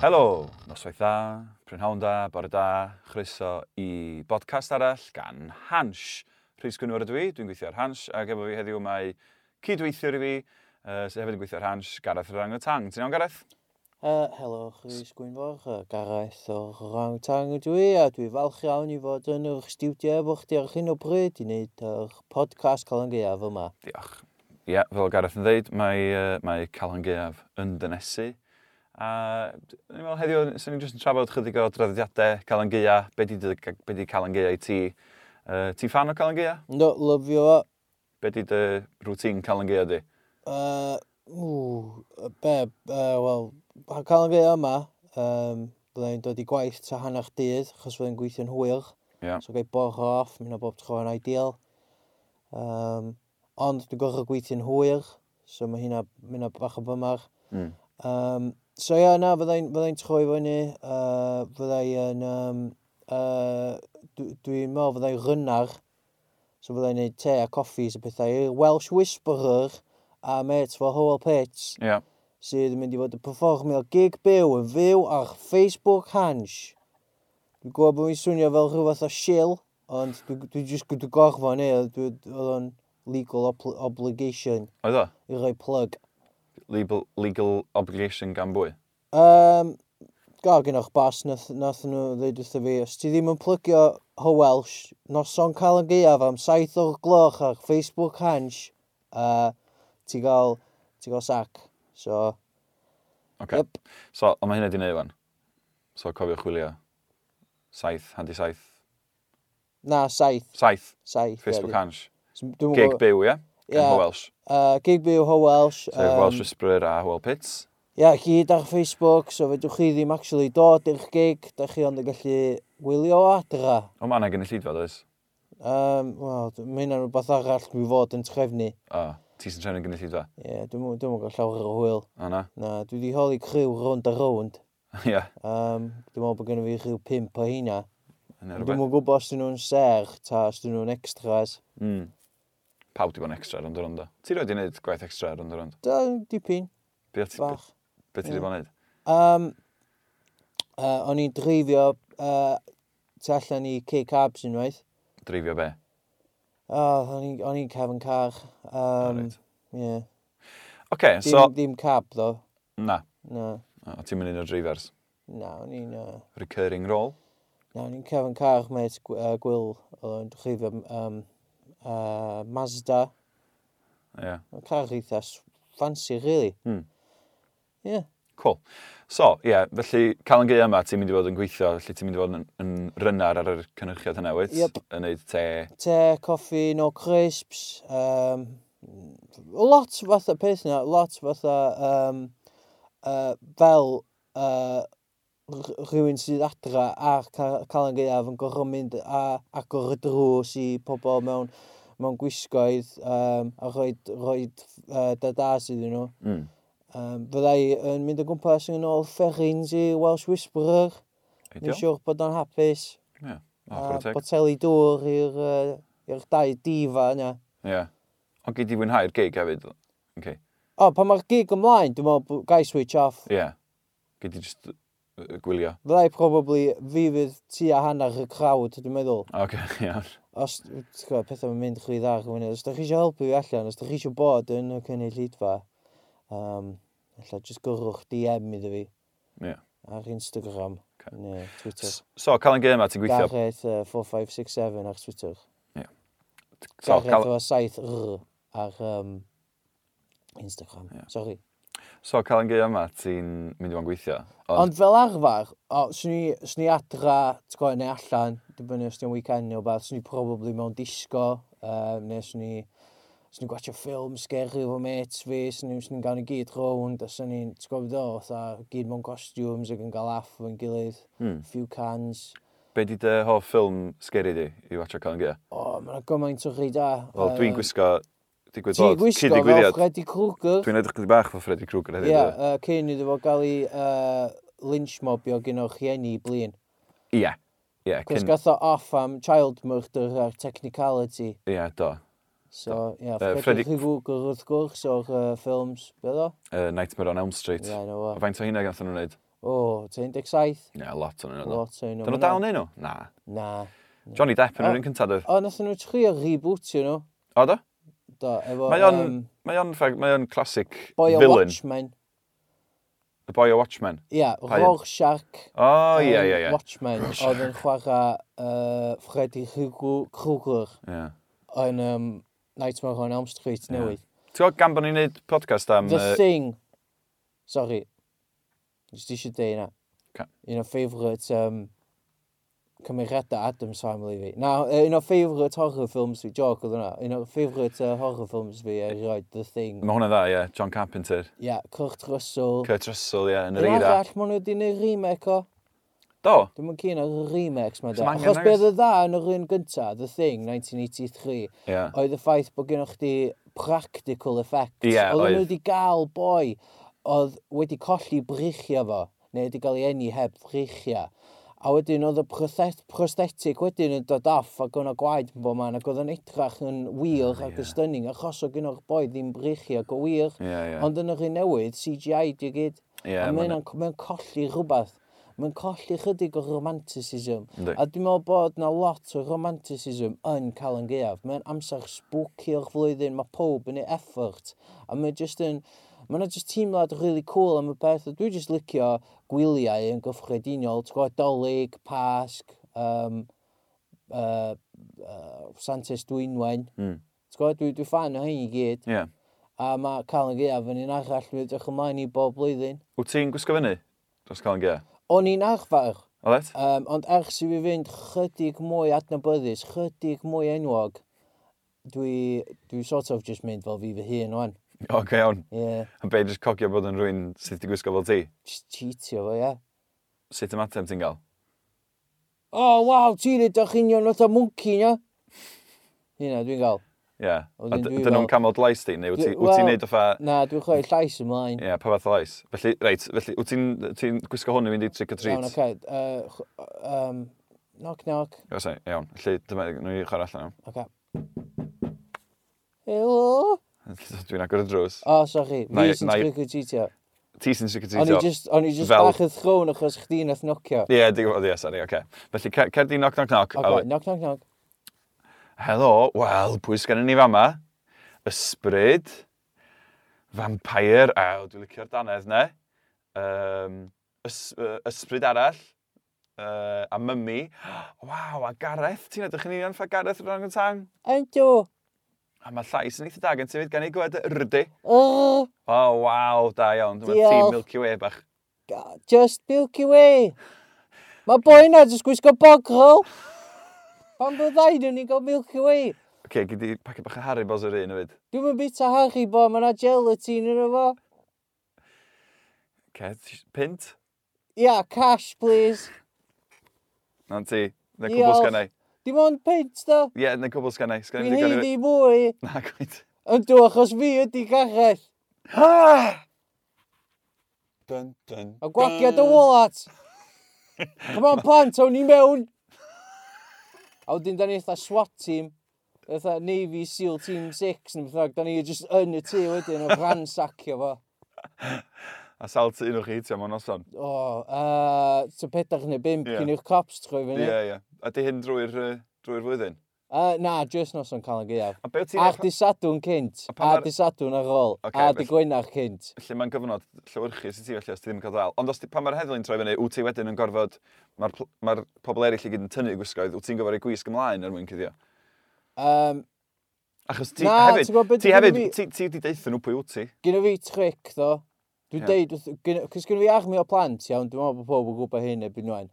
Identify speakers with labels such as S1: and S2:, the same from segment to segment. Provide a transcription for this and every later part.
S1: Helo, noswaith dda, prynhawn da, bore da, chroeso i bodcast arall gan Hans. Rhys Gwynwyr ydw i, dwi'n gweithio ar Hans, ac efo fi heddiw mae cydweithiwr i fi, uh, sydd hefyd yn gweithio ar Hans, Gareth yr Angotang. Ti'n iawn, Gareth?
S2: Uh, helo, Chris Gwynfor, yy, Gareth o'r Rangtang ydw i, a dwi falch iawn i fod yn yr stiwdio efo chdi ar hyn o bryd i wneud yr podcast Calan Gaeaf yma.
S1: Diolch. Ie, fel Gareth yn ddeud, mae, uh, mae Calan Gaeaf yn dynesu. A dwi'n meddwl heddiw, sy'n ni'n jyst yn trafod chydig o draddodiadau Calan Gaea, be di, dy- be di Calan Gaea i ti? Uh, ti'n fan o Calan Gaea?
S2: No, lyfio fo.
S1: Be di dy rŵtin Calan Gaea di?
S2: Uh, ww, yy, be, uh, wel, pa Calan Gaeaf yma, um, byddai'n dod i gwaith ta hanner dydd, achos byddai'n gweithio'n hwyl.
S1: Ie.
S2: So gael bor off, mynd o bob tro yn ideal. Um, ond dwi'n gorfod gweithio'n hwyr, so mae hynna, mae hynna bach o bymar.
S1: Mm.
S2: Um, so ia, na, fyddai'n fyddai troi fyny, uh, fyddai yn, um, uh, dw- dwi'n meddwl fyddai rynnar, so fyddai'n neud te a coffis a pethau, Welsh Whisperer a met fo Howell Pits,
S1: Ie.
S2: sydd yn mynd i fod yn performio gig byw yn fyw ar Facebook Hans. Dwi'n gwybod bod fi'n swnio fel rhywbeth o shill, ond dwi'n dwi just dwi gorfod neu, oedd o'n legal obli- obligation
S1: Oedd o?
S2: i roi plug.
S1: Legal, legal obligation gan bwy.
S2: Um, Gael gen o'ch bas nath, nath nhw ddeud wrtho fi, os ti ddim yn plygio ho Welsh, noson cael yn gaeaf am saith o'r gloch ar Facebook Hans, uh, ti gael, ti gael sac. So,
S1: Okay.
S2: Yep.
S1: So, ond mae hynna di neud fan. So, cofiwch wylio. Saith, handi saith.
S2: na, saith,
S1: Saith,
S2: saith.
S1: Facebook Hans. Gig
S2: Gig byw.
S1: byw, ie? Gan
S2: Ie.
S1: Ho Welsh.
S2: Uh, gig byw ho Welsh.
S1: Sef Welsh Whisperer a Howell Pits.
S2: Ia, gyd ar Facebook, so fedrwch chi ddim actually dod i'ch gig, da chi ond yn gallu wylio o adra.
S1: O, mae yna gynulleidfa, does?
S2: Um, Wel, d- mae hynna'n rhywbeth arall dwi fod yn trefnu.
S1: O, ti sy'n trefnu gynulleidfa?
S2: Ie, yeah, dwi'n mwyn gael llawer o hwyl.
S1: O, na.
S2: Na, dwi wedi holi criw rownd a rownd.
S1: Ie,
S2: Um, dwi'n meddwl bod gen i fi rhyw pimp o heina.
S1: hynny
S2: Dwi'n
S1: rhywbeth.
S2: mwyn gwybod os dyn nhw'n ser ta os dyn nhw'n extras.
S1: Mm. Pawb di bod yn extra rond o rondo. Ti roed i wneud gwaith extra rond o rondo?
S2: Da, dipyn,
S1: Be ti
S2: bach.
S1: be ti di bod yn wneud?
S2: Um, uh, o'n i'n dreifio uh, tu allan i K-Cabs unwaith.
S1: Dreifio be?
S2: Oh, o'n i- o'n i'n cefn car. Um,
S1: Alright.
S2: yeah.
S1: Oce,
S2: dim,
S1: so...
S2: dim cab, ddo.
S1: Na.
S2: Na,
S1: O, ti'n mynd un o'r dreifers.
S2: na, o'n i'n... Uh,
S1: Recurring role.
S2: na, o'n i'n cefn car met gw- uh, gwyl o'n dreifio um, uh, Mazda.
S1: Ie.
S2: Mae'n car eitha s- fancy, really.
S1: Hmm.
S2: Ie.
S1: Cool. So, ie, yeah, felly Calan Gaea yma, ti'n mynd i fod yn gweithio, felly ti'n mynd i fod yn, yn rynnar ar yr cynrychiad hynna, wyt?
S2: Yep.
S1: Yn neud te.
S2: Te, coffi, no crisps. Um, lot fatha peth na, lot fatha um, uh, fel uh, rhywun sydd adra a ca- Calan Gaeaf yn gorfod mynd a agor y drws i pobl mewn mewn gwisgoedd um, a roed, roed uh, dadas iddyn nhw.
S1: Mm.
S2: Um, fyddai yn mynd o gwmpas yn ôl fferins i Welsh Whisperer. Ni'n
S1: Ideal.
S2: siŵr bod o'n hapus.
S1: Ie. O,
S2: a
S1: chwarae teg.
S2: boteli dŵr i'r uh, i'r dau difa yna.
S1: Ie. Ond gei di wynhau'r gig hefyd. Okay.
S2: O, pan mae'r gig ymlaen, dwi'n meddwl bod gai switch off.
S1: Ie. Yeah. Gei di just yy, gwylio.
S2: Fyddai probably fi fydd tu a hanner y crowd, dwi'n meddwl.
S1: O, Oce, okay, iawn.
S2: Os, ti'n gwybod, pethau mae'n mynd chwi ddar gwneud. Os da chi eisiau helpu fi allan, os da chi eisiau bod yn y cynnig lidfa, um, alla, just gyrwch DM iddo fi.
S1: Ie.
S2: Ar Instagram,
S1: Ocê.
S2: neu Twitter.
S1: S- So, Calan Gaea yma, ti'n gweithio...
S2: Gareth uh, 4567 ar Twitter.
S1: So,
S2: Gareth
S1: Cal...
S2: o 7R ar um, Instagram.
S1: Ie.
S2: Sorry.
S1: so Calan Gaea yma, ti'n mynd i fod yn gweithio. Ond,
S2: Ond fel arfer, o, swn i, swn i adra, ti'n gwybod, neu allan, dibynnu os ti'n weekend neu beth, swn i probably mewn disco, um, neu swn i, swn i'n gwachio ffilm sgeri efo mates fi, swn i'n swn i'n gael ni gyd rownd, a swn i'n, ti'n gwybod o, fatha, gyd mewn costumes ac yn gael laff efo'n gilydd,
S1: hmm.
S2: few cans.
S1: be di dy hoff ffilm sgeri di i watcha Calan Gaea?
S2: O, mae'n gymaint o rhaid da.
S1: Wel, dwi'n gwisgo... Digwydd
S2: Ti'n
S1: bod,
S2: gwisgo fel
S1: cyd-digwyddiad.
S2: Freddy Krueger.
S1: Dwi'n edrych gyda bach fo Freddy Krueger e?
S2: Ie,
S1: hefyd.
S2: yy, cyn iddo fo gael ei uh, lynchmobio gen o'ch ieni i blin.
S1: Ie. Ie. Ie,
S2: Cos
S1: cyn...
S2: gath o off am child murder ar technicality.
S1: Ie, do.
S2: So, ie, yeah,
S1: Freddy-
S2: Freddy Krueger wrth gwrs o'r uh, ffilms, beth o?
S1: Uh, Nightmare on Elm Street.
S2: Ie, no
S1: A
S2: fo.
S1: faint o hynna gathen nhw'n neud?
S2: O, ti'n 17?
S1: Ie, lot o'n nhw.
S2: Lot o'n nhw.
S1: Dyn nhw dal neu nhw? Na.
S2: Na.
S1: Johnny Depp yn
S2: O.
S1: yr un cyntaf dweud.
S2: O, nath nhw trio rebootio nhw.
S1: O da?
S2: Do, efo...
S1: Mae o'n,
S2: yym,
S1: mae o'n, ffeg- mae o'n classic
S2: Boy o
S1: villain.
S2: Watchmen.
S1: The Boy o Watchmen.
S2: Ia,
S1: Pa un?
S2: Rorschach.
S1: O, ie, ie,
S2: yym,
S1: ie.
S2: Watchmen. Oedd yn chwarae uh, Freddy Krueger- Krueger
S1: Ie.
S2: yn um, Nightmare on Elm Street newydd.
S1: Ti'n gwybod gan bod ni'n gwneud podcast am...
S2: The
S1: yy,
S2: Thing. Sorry. Just eisiau dweud yna.
S1: Ca-
S2: Un o favourite um, cymeriadau Adam's Family fi. Na, yy, un o favourite horror films fi, joc oedd hwnna. Un o favourite uh, horror films fi erioed, The Thing. Ia,
S1: Mae hwnna dda, ie. John Carpenter.
S2: yeah, Kurt Russell.
S1: Kurt Russell, ie, yn
S2: Yn
S1: yr eira.
S2: arall, maen nhw wedi gwneud remake o.
S1: Do.
S2: Dwi'n mynd cyn ar y remakes ma da.
S1: Sna'm angen,
S2: Achos be
S1: nag oes?
S2: oedd y dda yn yr un gyntaf, The Thing, 1983,
S1: Ie.
S2: oedd y ffaith bod gennych chdi practical effects.
S1: Ie,
S2: oedd. nhw
S1: oedd.
S2: wedi gael boi oedd wedi colli brichia fo, neu wedi cael ei eni heb brichia. A wedyn oedd y prosthet- prosthetic wedyn yn dod off ac o'n o gwaed yn bod man ac oedd yn edrach yn wir ac yn stunning achos o gynnwch boi ddim brichia ac o wir.
S1: Ie, ie.
S2: Ond yn yr un newydd, CGI di gyd.
S1: Ie,
S2: a
S1: ma'
S2: mae'n mae'n colli rhywbeth. Mae'n colli chydig o romanticism.
S1: Yndi.
S2: A dwi'n meddwl bod na lot o romanticism yn cael yn gaeaf. Mae'n amser spooky o'r flwyddyn, mae pob yn ei effort. A mae'n just yn... Mae'n just teimlad really cool am y beth. Dwi'n just licio gwyliau yn gyffredinol. T'w gwybod, dolyg, pasg, um, uh, uh, Santes Dwynwen.
S1: Mm.
S2: T'w gwybod, dwi, dwi fan o hyn i gyd.
S1: Ie.
S2: A mae Calan Gaeaf yn un arall mi ydych ymlaen i bob blwyddyn.
S1: Wyt ti'n gwisgo fyny? Dros Colin e? Gea?
S2: O'n i'n arfer,
S1: O let?
S2: um, ond ers i fi fynd chydig mwy adnabyddus, chydig mwy enwog, dwi, dwi sort of just mynd fel fi fy hun o'n.
S1: Ok, iawn.
S2: Ie, yeah.
S1: A be, jyst cogio bod yn rhywun sydd wedi gwisgo fel ti?
S2: just cheatio fo, ie. Yeah.
S1: Sut ymateb ti'n gael?
S2: O, oh, waw, ti'n edrych union oedd o mwnci, ia? Hynna, dwi'n gael.
S1: Ie. A
S2: Wedyn
S1: d-
S2: dwi
S1: dyn nhw'n
S2: fel-
S1: camod lais di, neu wyt ti-
S2: Dwi-
S1: wyt ti'n
S2: wel-
S1: neud o ffa...
S2: Na, dwi'n chwoi llais ymlaen.
S1: Ie, pa fath o lais? Felly, reit, felly, wyt ti'n ti gwisgo hwn i fynd i trick or
S2: Iawn,
S1: treat?
S2: oce. yy, ch- yym, Knock, knock.
S1: Oce, iawn. Felly, dyma, nhw i chwarae allan
S2: Oce. Helo?
S1: iawn. Dwi'n agor y drws.
S2: O, sorry,
S1: Na i-
S2: fi sy'n
S1: na i-
S2: trick or treatio.
S1: Ti sy'n trick or
S2: O'n i
S1: treat o?
S2: just, o'n i just
S1: fel-
S2: bach yn thrown achos chdi nath nocio.
S1: Ie, di gwybod, ie, sori, oce. Felly, cer cer di knock, knock, knock. a
S2: Ok,
S1: we-
S2: knock, knock, knock.
S1: Helo, wel, pwy sgan ni fama? Ysbryd, vampire, a dwi'n licio'r danedd, ne? Um, ys, uh, ysbryd arall, uh, a mymi. Waw, a Gareth, ti'n edrych yn union ffa Gareth rhan yn tang?
S2: Yndw,
S1: A mae llais yn eitha dag yn tyfyd gan ei gwed y rdy.
S2: uh,
S1: O, oh, waw, da iawn. Dyma
S2: Diolch.
S1: ti Milky Way bach.
S2: just Milky Way. Mae boi na jyst gwisgo bogrol. Pan byddai nhw'n i gael Milky Way.
S1: Oce, okay, gyd i pacio bach o Haribos yr un yfyd.
S2: Dwi'n mynd bit a Harry bo, mae na gelatin yn efo.
S1: Oce, okay, pint?
S2: Ia, cash, please.
S1: Na ti, na
S2: Diolch.
S1: cwbl sgan ei.
S2: Dim ond pint, do.
S1: Ie, yeah, na cwbl sgan ei. Sgan
S2: Fi
S1: ei digon i...
S2: heiddi mwy.
S1: Na, gwaith.
S2: Yndw, achos fi ydi Gareth.
S1: Dun, dun,
S2: A gwagiad y wallet. Come on, plant, awn ni mewn. A wedyn, da ni eitha SWAT team. Eitha Navy SEAL Team 6 neu beth bynnag. Da ni just yn y tu wedyn o ransacio fo.
S1: A sawl tu nhw chi, ti am o'n noson.
S2: O, uh, ty pedach neu bimp
S1: Ie.
S2: yeah. cyn i'r cops trwy
S1: Ie,
S2: fyny. Yeah.
S1: ie. A di hyn drwy'r yy, drwy'r flwyddyn.
S2: Uh, na, just nos o'n cael yn gaeaf.
S1: A be wyt ti'n...
S2: A'r
S1: Achdi...
S2: disadwn cynt.
S1: A pan
S2: A
S1: ar-
S2: disadwn ar ôl.
S1: Ocê,
S2: A di
S1: felly-
S2: gwynar cynt.
S1: Felly mae'n gyfnod llywyrchus i ti felly os ti ddim yn cael dal. Ond os ti, pan mae'r heddlu'n troi fyny, wyt ti wedyn yn gorfod... Mae'r pl- mae'r pobl eraill i gyd yn tynnu gwisgoedd, wyt ti'n gorfod ei gwisg ymlaen er mwyn cyddio.
S2: Um,
S1: Achos ti
S2: Na, ti'n gwbod
S1: hefyd,
S2: be'
S1: ti hefyd, ti wedi
S2: dwi'n gwneud
S1: deithio nhw pwy wyt ti.
S2: Gynna fi tric, ddo. Dwi'n
S1: Ie.
S2: yeah. deud, cys gynna fi armi o plant, iawn, dwi'n meddwl bod pob yn gwybod hyn ebyn nhw'n.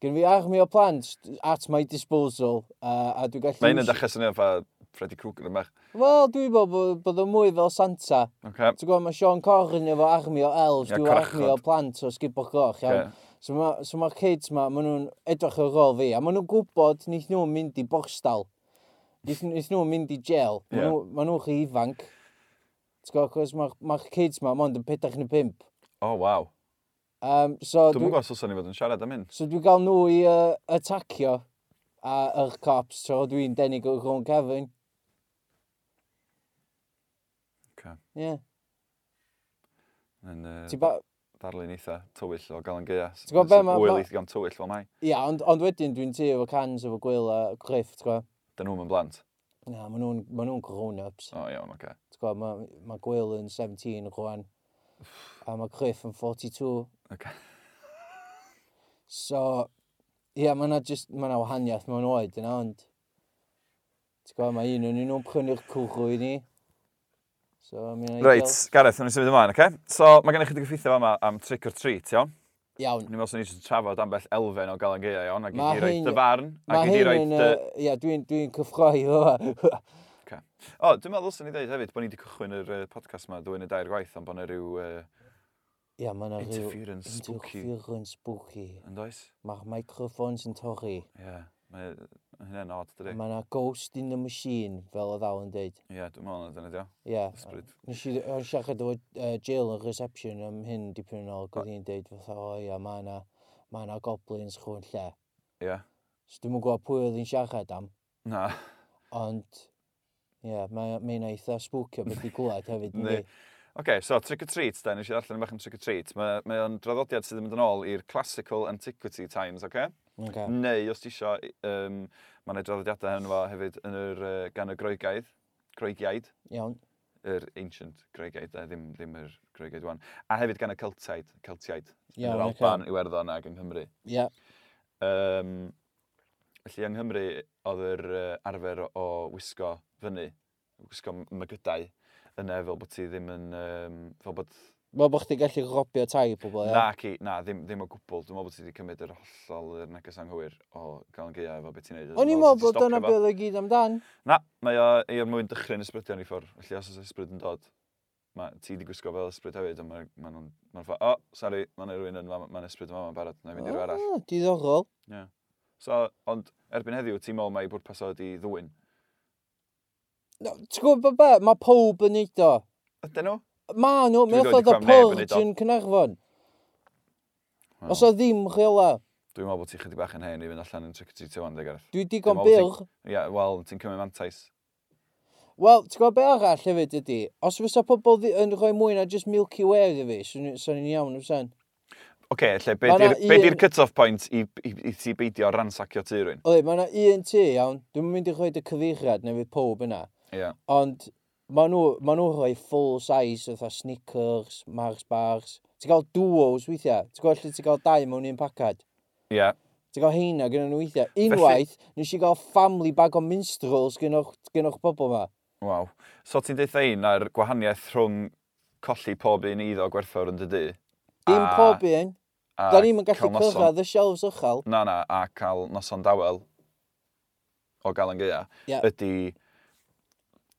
S2: Gynna fi armi o plant at my disposal, uh, a dwi'n gallu...
S1: Mae hyn yn dechrau syniad fa Freddy Krueger yn bach.
S2: Wel, dwi'n meddwl bod, bod o mwy fel Santa.
S1: Okay.
S2: Ti'n gwybod, mae Sean Corrin efo armi o elves,
S1: Ie,
S2: dwi'n armi o
S1: cochod.
S2: plant o sgubor goch, iawn.
S1: Ocê.
S2: So mae'r so ma kids ma, maen nhw'n edrych ar ôl fi, a maen nhw'n gwybod nid nhw'n mynd i borstal. Nid nid nhw'n mynd i jail. Maen
S1: Ie.
S2: nhw- maen nhw'n rhy ifanc. Ti'n gwybod, cos mae'r ma kids ma, mond yn pedach neu pimp.
S1: O, Oh, waw.
S2: Um, so
S1: Dwi'n
S2: dwi,
S1: gwybod os o'n i fod yn siarad am hyn.
S2: so dwi gael nhw i uh, atacio a yr cops, so dwi'n denig o Ron Kevin.
S1: Oce.
S2: Ie. Yeah.
S1: Yn,
S2: Ti
S1: yy,
S2: ba...
S1: darlun eitha tywyll o gael yn gea.
S2: Ti'n gwbod be, ma- ma-
S1: Wyl eitha gan tywyll fel mai.
S2: Ia, ond, ond wedyn dwi'n tu efo cans efo gwyl a griff, ti'n gwybod?
S1: Dyn nhw'n mynd blant.
S2: Na, maen nhw'n ma nhw grown-ups.
S1: O iawn, oce.
S2: Ti'n gwybod, mae ma gwyl yn 17 rwan. A mae griff yn 42.
S1: Oce.
S2: So, ia, mae yna just, mae yna wahaniaeth mewn oed yna, ond... Ti'n gwybod, mae un o'n nhw'n prynu'r cwrw i ni. So, mi yna...
S1: Reit, Gareth, wnawn ni symud ymlaen, oce? So, mae gennych chi gyffeithio fama am trick or treat, iawn?
S2: Iawn.
S1: Ni meddwl sy'n eisiau trafod ambell elfen o gael yn gea, iawn? Ac i
S2: Ma'
S1: di roed
S2: hyn-
S1: dy farn,
S2: Mae
S1: ac i di
S2: hyn
S1: roed
S2: yn...
S1: dy...
S2: yy, Ia, dwi'n dwi cyffroi o.
S1: Oce. O, dwi'n meddwl sy'n ei ddeud hefyd bod ni wedi cychwyn yr yy, podcast yma dwi'n y dair gwaith, ond bod yna rhyw yy,
S2: Ia, mae yna rhyw...
S1: interference spooky.
S2: Interference spooky.
S1: Yn does?
S2: Mae'r microphones yn torri.
S1: Ie. Mae ma' hynna'n odd, dydy?
S2: Mae yna ghost in the machine, fel o ddal yn deud.
S1: Ie, dwi'n meddwl na dyna, diolch.
S2: Ia.
S1: Ysbryd.
S2: Nes i o'n siarad efo uh, Jill yn reception am hyn dipyn yn ôl, gwrdd i'n deud fatha, o ia, mae yna, mae yna goblins chwn lle.
S1: Ie.
S2: So dwi'n gwybod pwy oedd hi'n siarad am,
S1: Na.
S2: ond, ia, mae mae'n eitha spwcio beth i gwlad hefyd.
S1: Yndi.
S2: yndi?
S1: OK, so trick or treat, da, nes i ddarllen bach am trick or treat. Mae ma o'n draddodiad sydd yn mynd yn ôl i'r classical antiquity times, OK?
S2: Ocê.
S1: Neu, os ti isio, um, mae yna draddodiadau hyn fo hefyd yn yr, uh, gan y groegaidd, groegiaid,
S2: Iawn,
S1: yr ancient groegiaid, da, ddim, ddim yr groegiaid wan. A hefyd gan y Celtiaid, Celtiaid, yn yr
S2: iawn, ocê.
S1: Alban, Iwerddon ac yng Nghymru.
S2: Ia,
S1: Um, felly yng Nghymru oedd yr uh, arfer o wisgo fyny, wisgo m- mygydau yna fel bod ti ddim yn, um, fel bod
S2: Wel bod chdi gallu robio tai pobl, ia?
S1: Na, ci, na, ddim, ddim o gwbl. Dwi'n meddwl bod ti wedi cymryd yr hollol yr neges anghywir o gael yn geia efo beth ti'n neud.
S2: O'n i'n
S1: Dwi'n meddwl
S2: meddwl
S1: ti 'di stopio
S2: bod dyna
S1: fo.
S2: beth o'i gyd amdan.
S1: Na, mae o i o'r mwyn dychryn ysbrydion i ffwrdd. Felly os oes ysbryd yn dod, mae ti wedi gwisgo fel ysbryd hefyd, ond mae'n ma nhw'n- ma ffordd, o, sori, mae'n rhywun yn, mae'n ysbryd yma, mae'n barod, na i fynd i'r arall.
S2: O, Diddorol.
S1: So, ond erbyn heddiw, ti'n meddwl mae bwrpas o wedi ddwyn.
S2: No, Ti'n gwybod be? Mae pob yn neud o.
S1: Ydyn nhw?
S2: Ma nhw,
S1: Dwi'n
S2: mae
S1: rioed
S2: oedd
S1: di
S2: y
S1: gweld neb yn neud
S2: purge
S1: o. Hmm.
S2: yn Cynarfon.
S1: Wel,
S2: Os o ddim rheola,
S1: Dwi'n meddwl bod ti chydig bach yn hen i fynd allan yn trick or treat o'n degarth.
S2: dwi digon
S1: meddwl
S2: byr.
S1: Ia, wel, ti'n cymryd mantais.
S2: Wel, ti'n gwybod be arall hefyd ydi? Os fysa pobl ddi- yn rhoi mwy na just Milky Way iddo fi, swn so ni'n iawn yn sen.
S1: Oce, okay, be
S2: Ma' 'na
S1: di'r- be di'r
S2: un-
S1: cut-off point i, i, i ti beidio ransacio tu rwy'n?
S2: Oed, mae yna un tu iawn, dwi'n mynd i rhoi dy cyfeiriad neu fydd pob yna.
S1: Ie.
S2: Ond mae nhw, ma nhw rhoi full size fatha Snickers, Mars Bars. Ti'n cael duos weithiau. Ti'n gweld lle ti'n cael dau mewn un pacad.
S1: Ie.
S2: Ti'n cael heina gyda nhw weithiau. Unwaith, nes i gael family bag o minstrels gen o'ch bobl yma.
S1: Waw. So ti'n deitha un ar gwahaniaeth rhwng colli pob un iddo gwerthfawr yn dy dy?
S2: Dim
S1: A-
S2: pob un.
S1: a
S2: Da ni'n gallu
S1: cael noson-
S2: cyrraedd y shelves uchel.
S1: Na, na, a cael noson dawel o gael yn gea.
S2: Ie.
S1: Ydy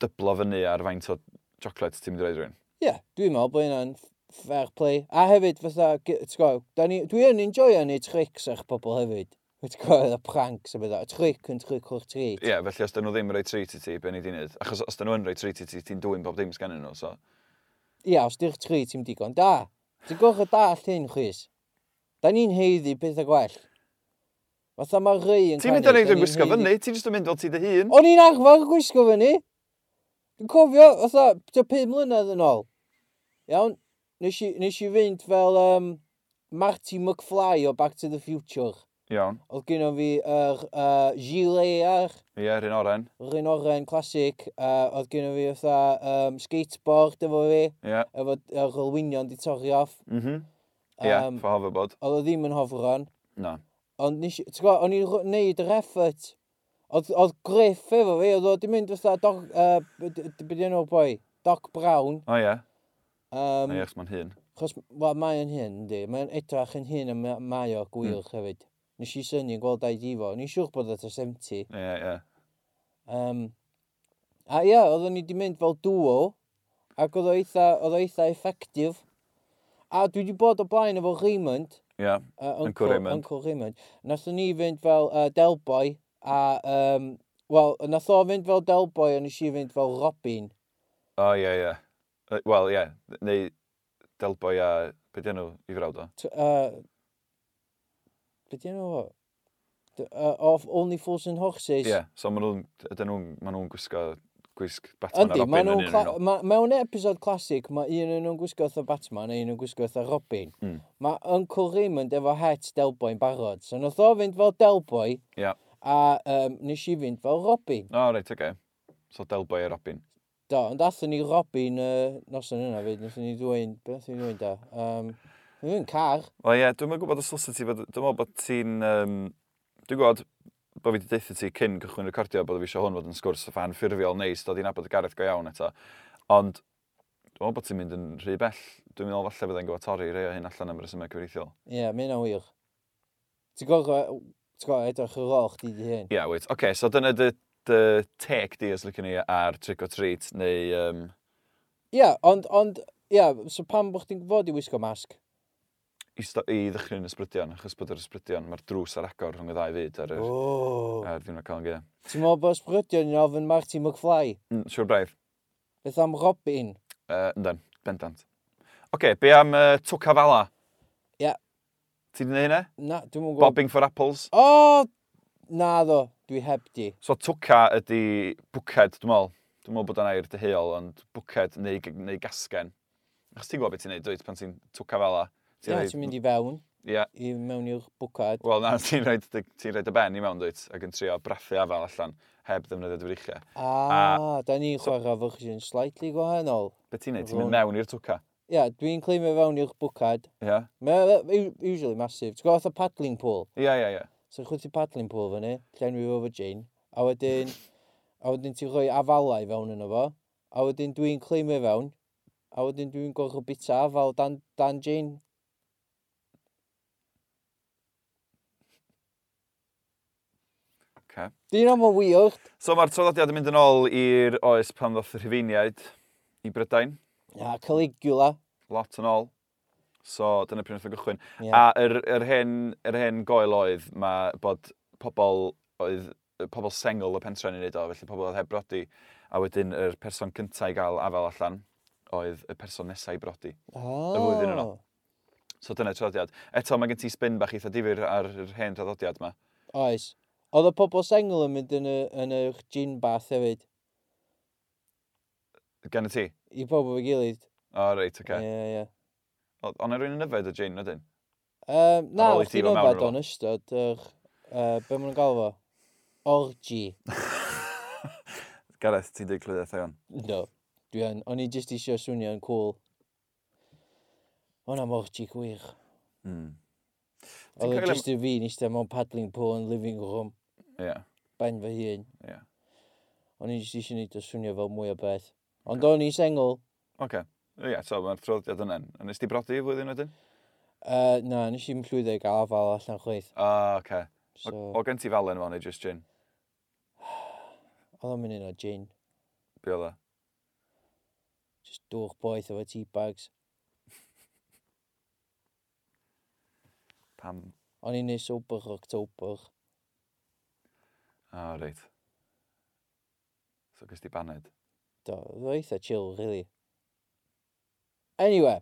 S1: dyblo fyny ar faint o chocolate ti'n mynd i roed rhywun.
S2: Ie, yeah, dwi'n meddwl bod hynna'n f- fair play. A hefyd, fatha, g- ti'n gwybod, da ni- dwi yn enjoyo ni tricks eich pobl hefyd. Ti'n gwybod, y pranks a bydda. Trick yn trick o'r tri.
S1: Ie, felly os dyn nhw ddim roi treat i ti, be ni di wneud? Achos os dyn nhw yn roi treat i ti, ti'n dwy'n bob dim sgennyn nhw, so...
S2: Ie, os di'r tri ti'n digon, da. Ti'n gwrdd da llun, chwys. Da ni'n heiddi peth a gwell. Fatha mae rei yn
S1: Ti'n mynd
S2: canu,
S1: yn neud
S2: da
S1: yn
S2: ni'n
S1: gwisgo
S2: haeddu-
S1: fyny, ti'n just yn mynd fel ti dy hun.
S2: O'n i'n arfer gwisgo fyny. Dwi'n cofio, fatha, tua 5 mlynedd yn ôl. Iawn, nes i, nes i fynd fel um, Marty McFly o Back to the Future.
S1: Iawn.
S2: Oedd gyda fi yr uh, gilet ar,
S1: Ie, rhywun oren.
S2: yr un oren clasig. Uh, oedd gyda fi fatha um, skateboard efo fi,
S1: Ie.
S2: efo yr olwynion di torri off.
S1: Mhm. Ie,
S2: Yym,
S1: ffa hoverboard.
S2: Oedd o ddim yn hofron.
S1: Na.
S2: Ond nes i, ti'n gwybod, o'n i'n rho- neud yr effort. Oedd, oedd griff efo fi, oedd o di mynd fatha Doc, uh, beth yna o'r boi, Doc Brown.
S1: O ie,
S2: Um,
S1: na i achos ma'n hun.
S2: Chos, wel, mae yn hyn, ynddi. Mae'n edrach yn hyn a ma- mae o gwych mm. hefyd. Nes i syni gweld ai difo. Nes i siwr bod at y 70.
S1: Ie, ie.
S2: Um, a ia, oedden ni di mynd fel duo. Ac oedd o eitha, oedd o eitha effective. A dwi wedi bod o blaen efo Raymond.
S1: Ie,
S2: Uh,
S1: Uncle
S2: Uncle,
S1: Raymond.
S2: Uncle Raymond. Nathon ni fynd fel uh, Delboy a... Um, Wel, nath o fynd fel Delboy a nes i fynd fel Robin.
S1: O, ie, ie. Yy, Wel, ie. Neu Delboi a... Be di nhw i frawd o?
S2: T- Uh, Be di enw o? D- Uh, of Only Fools and Horses.
S1: Ie. So maen nhw'n... Ydyn nhw'n... Maen nhw'n gwisgo gwisg Batman
S2: Yndi,
S1: a Robin
S2: maen
S1: yn
S2: nhw'n...
S1: un
S2: cla-
S1: nhw.
S2: ma- Mewn episod clasig, mae un o'n nhw'n gwisgo fatha Batman a un o'n gwisgo fatha Robin.
S1: Mm.
S2: Mae Uncle Raymond efo het Delboi'n barod. So nath o fynd fel Delboi
S1: Ia.
S2: a um, nes i fynd fel Robin.
S1: O, reit, oce. So Delboy a Robin.
S2: Do, ond athyn ni Robin uh, noson yna fyd, nath ni ddwy'n... Beth ni'n ddwy'n da? Um, Dwi'n car.
S1: Wel ie, dwi'n meddwl gwybod os dylse ti fod... Dwi'n meddwl bod ti'n... Um, dwi'n gwybod bod fi wedi deitha ti cyn cychwyn recordio bod fi eisiau hwn fod yn sgwrs y fan ffurfiol neis, dod i'n abod y Gareth go iawn eto. Ond dwi'n meddwl bod ti'n mynd yn rhy bell. Dwi'n meddwl falle byddai'n gwybod torri rei o hyn allan am resymau cyfreithiol.
S2: Ie, yeah, mae'n wir. Ti'n gorfod... Ti'n gorfod edrych yr och di di hyn.
S1: Ie, yeah, wyt. Oce, okay, so dyna dy, dy teg di os lycan ni ar trick or treat, neu... Um,
S2: Ie, yeah, ond... ond Ie, yeah, so pam bod chdi'n gwybod i wisgo masg?
S1: i, sto- i ddychryn ysbrydion, achos bod yr ysbrydion, mae'r drws ar agor rhwng y ddau fyd ar yr,
S2: Oh.
S1: ar ddiwrnod Colin Gia.
S2: Ti'n meddwl bod sbrydion yn ofyn Marty McFly?
S1: Mm, Siwr braidd.
S2: Beth am Robin?
S1: Uh, Yndan, bendant. Oce, okay, be am uh, Tukafala?
S2: Ie.
S1: Ti di neud hynna?
S2: Na, dwi'n mwyn gwybod...
S1: Bobbing for apples.
S2: O! Oh, na ddo, dwi heb di.
S1: So Tuca ydi bwced, dwi'n meddwl. Dwi'n meddwl bod o'n air dyheol, ond bwced neu, g- neu gasgen. Achos ti'n gwybod beth ti'n neud, dwi'n pan ti'n Tukafala.
S2: Ie, ti'n mynd i fewn,
S1: Ie,
S2: i mewn i'r bwcad.
S1: Wel, na, ti'n rhaid, ti rhaid y ben i mewn, dwyt, ac yn trio brathu afel allan heb ddefnyddio dy frichiau.
S2: Ah, da ni'n chwarae fersiwn slightly gwahanol.
S1: Be ti'n neud? Ti'n mynd mewn i'r twca?
S2: Ie, yeah, dwi'n cleimio fewn i'r bwcad.
S1: Ia?
S2: Mae o- u- usually massive. Ti'n gwybod fatha paddling pool?
S1: Ia, ia, ia.
S2: So chwyd ti paddling pool fyny, llenwi fo fo gin, a wedyn, a wedyn ti'n rhoi afalau fewn yno fo, a wedyn dwi'n cleimio fewn, a wedyn dwi'n gorfod bita afal dan, dan gin.
S1: Okay.
S2: Dyn o'n weird.
S1: So mae'r traddodiad yn mynd yn ôl i'r oes pan ddoth y rhyfeiniaid i Brydain.
S2: A Caligula.
S1: Lot yn ôl. So dyna pryd wnaeth o gychwyn.
S2: Ie.
S1: A yr, yr, hen, yr hen goel oedd mae bod pobl oedd pobl sengl y pentre ni'n neud o, felly pobl oedd heb brodi. A wedyn yr person cyntaf i gael afel allan oedd y person nesaf i brodi.
S2: Ah.
S1: flwyddyn yna. So dyna'r traddodiad. Eto, mae gen ti spin bach eitha difyr ar yr hen traddodiad yma.
S2: Oes. Oedd y pobl sengl yn mynd yn y, yn y gin bath hefyd.
S1: Gan y ti?
S2: I pobl fy gilydd.
S1: O, reit, oce. Okay.
S2: Ie, ie.
S1: Yeah. Ond rwy'n yn yfed o Jane, ydyn?
S2: Yym, Na,
S1: Ar ôl i
S2: oedd
S1: ti
S2: hi'n
S1: fod mewn
S2: yfad
S1: iddo fo.
S2: o'n ystod. yr, yy, Be maen nhw'n galw fo? Orgy.
S1: Gareth, ti'n dweud clywed eithaf iawn.
S2: No. Dwi yn. O'n i jyst eisiau swnio'n cool. O'n am orgy gwych.
S1: Mm. Ti'n
S2: Oedd o
S1: cael em-
S2: jyst i fi eisiau mewn paddling pool yn living room.
S1: Ie, yeah,
S2: Ben fy hun.
S1: ie. Yeah.
S2: O'n i jyst eisiau neud o swnio fel mwy o beth. Ond o'n i sengl.
S1: Oce. Okay. Ie, yeah, so mae'r traddodiad yna. A nes ti brodi y flwyddyn wedyn?
S2: Uh, na, nes i'n llwyddo i gael afal allan chweith.
S1: O, oce.
S2: So,
S1: O- O gen ti falen fan neu just Jane?
S2: oedd o'n mynd o gin.
S1: Be oedd e?
S2: Just dwch boeth efo tea bags.
S1: Pam?
S2: O'n i'n neud sober October.
S1: O, reit. So gys ti baned.
S2: Do, oedd o eitha chill, really. Anyway,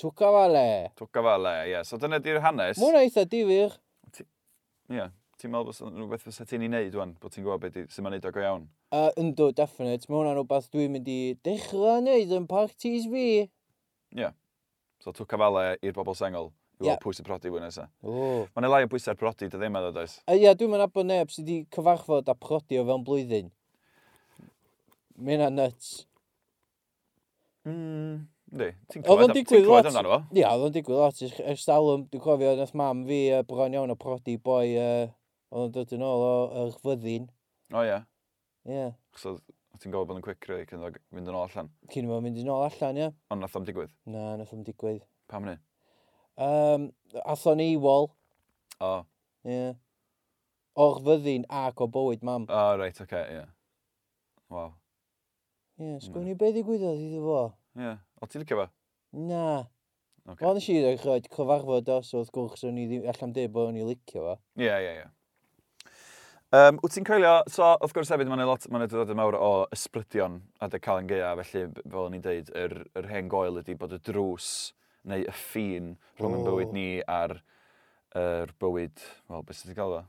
S2: twca fale.
S1: Twca fel e, ie. So dyna di'r hanes.
S2: Mwna eitha difyr.
S1: Ie. Ti'n meddwl bod rhywbeth fysa ti'n ei wneud, wan? Bod ti'n gwybod beth sy'n ma'n neud o go iawn?
S2: Uh, ynddo, definite. Mae hwnna'n rhywbeth dwi'n mynd i dechrau wneud yn parties fi.
S1: So twca fel e i'r bobl sengol. I weld
S2: Ie.
S1: pwy sy'n prodi fwy nesaf.
S2: O.
S1: Mae yna lai o bwysau'r brodi, dy ddim meddwl, does?
S2: A ia, dwi'n mynd abo neb sydd wedi cyfarfod a prodi o fewn blwyddyn. Mae hynna'n nuts.
S1: Mm, di. Ti'n clywed
S2: Hmm. Oedd o'n
S1: am- ti'n
S2: digwydd
S1: clywed
S2: lot.
S1: amdano fo?
S2: Ia, oedd o'n digwydd lot. Ers- Ers dalwm, dwi'n cofio, nath mam fi uh, bron iawn o prodi boi uh, oedd yn dod yn ôl o'r fyddin.
S1: O ie.
S2: Ie. Yeah.
S1: Achos oedd- o' ti'n gofod bod yn quick really cyn ddod- mynd yn ôl allan.
S2: Cyn i mo mynd yn ôl allan, ia?
S1: Ond nath am digwydd.
S2: Na, nath o'n digwydd.
S1: Pam ni?
S2: Um, Athon ni wol,
S1: O,
S2: ie. Yeah. O'r fyddin ac o bywyd mam. Ie,
S1: o reit, oce, okay, ie. Waw.
S2: yeah, sgwni beth ddigwyddodd iddo fo?
S1: Ie. O ti'n licio fo?
S2: Na.
S1: Ocê.
S2: Wel, nes i ddweud rhaid cyfarfod os oedd gwrs o'n i ddim, allan dweud bod o'n i licio fo.
S1: Ie, ie, ie. Um, wyt ti'n coelio, so wrth gwrs hefyd mae'n lot, mae'n dod mawr o ysbrydion a dy cael yn gea, felly b- fel o'n i'n deud, yr, yr hen goel ydi bod y drws neu y ffin rhwng yn
S2: O.
S1: bywyd ni a'r er bywyd, wel, beth sydd wedi gael fo?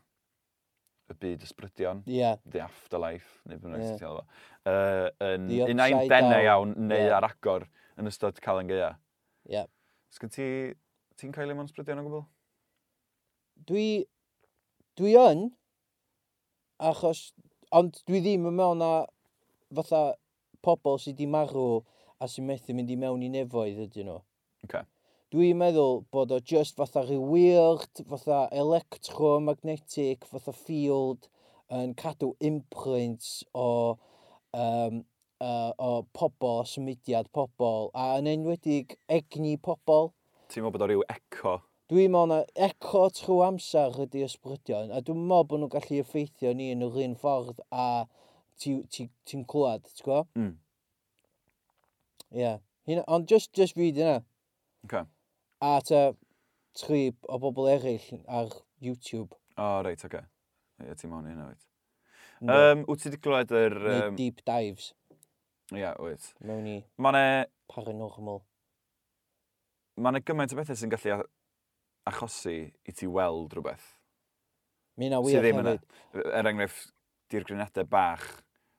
S1: y byd ysbrydion,
S2: yeah.
S1: the afterlife, neu beth
S2: Ie.
S1: bynnag yeah. uh, yn
S2: The
S1: unai'n
S2: upside
S1: denau
S2: down.
S1: iawn neu
S2: Ie.
S1: ar agor yn ystod cael yn gaea.
S2: Ie.
S1: Sgyn ti, ti'n cael ei mewn sbrydion o gwbl?
S2: Dwi, dwi yn, achos, ond dwi ddim yn mewn na fatha pobl sydd wedi marw a sy'n methu mynd i mewn i nefoedd ydyn nhw.
S1: Oce.
S2: Dwi'n meddwl bod o just fatha rhyw weird, fatha electromagnetic, fatha field yn cadw imprints o, um, uh, o pobl, symudiad pobl, a yn enwedig egni pobl.
S1: Ti'n meddwl bod o ryw eco?
S2: Dwi'n meddwl na eco trwy amser ydy ysbrydion, a dwi'n meddwl bod nhw'n gallu effeithio ni yn yr un ffordd a ti'n ti, ti ti'n clywed, ti'n gwybod?
S1: Mm.
S2: Ie. Yeah. Hynna- Ond just, just fi dyna.
S1: Oce.
S2: A ta tri o bobl eraill ar YouTube.
S1: O, reit, oce. Ie, ti'n mewn i hynna, wyt.
S2: Neu-
S1: Um, wyt ti wedi glwed yr...
S2: neu
S1: yym,
S2: deep dives
S1: Ie, um, wyt.
S2: mewn i
S1: Mae ne,
S2: paranormal.
S1: ma ne gymaint o bethau sy'n gallu a- achosi i ti weld rhywbeth.
S2: Mi na wir
S1: sydd ddim yna.
S2: hefyd.
S1: Er enghraifft, di'r grenadau bach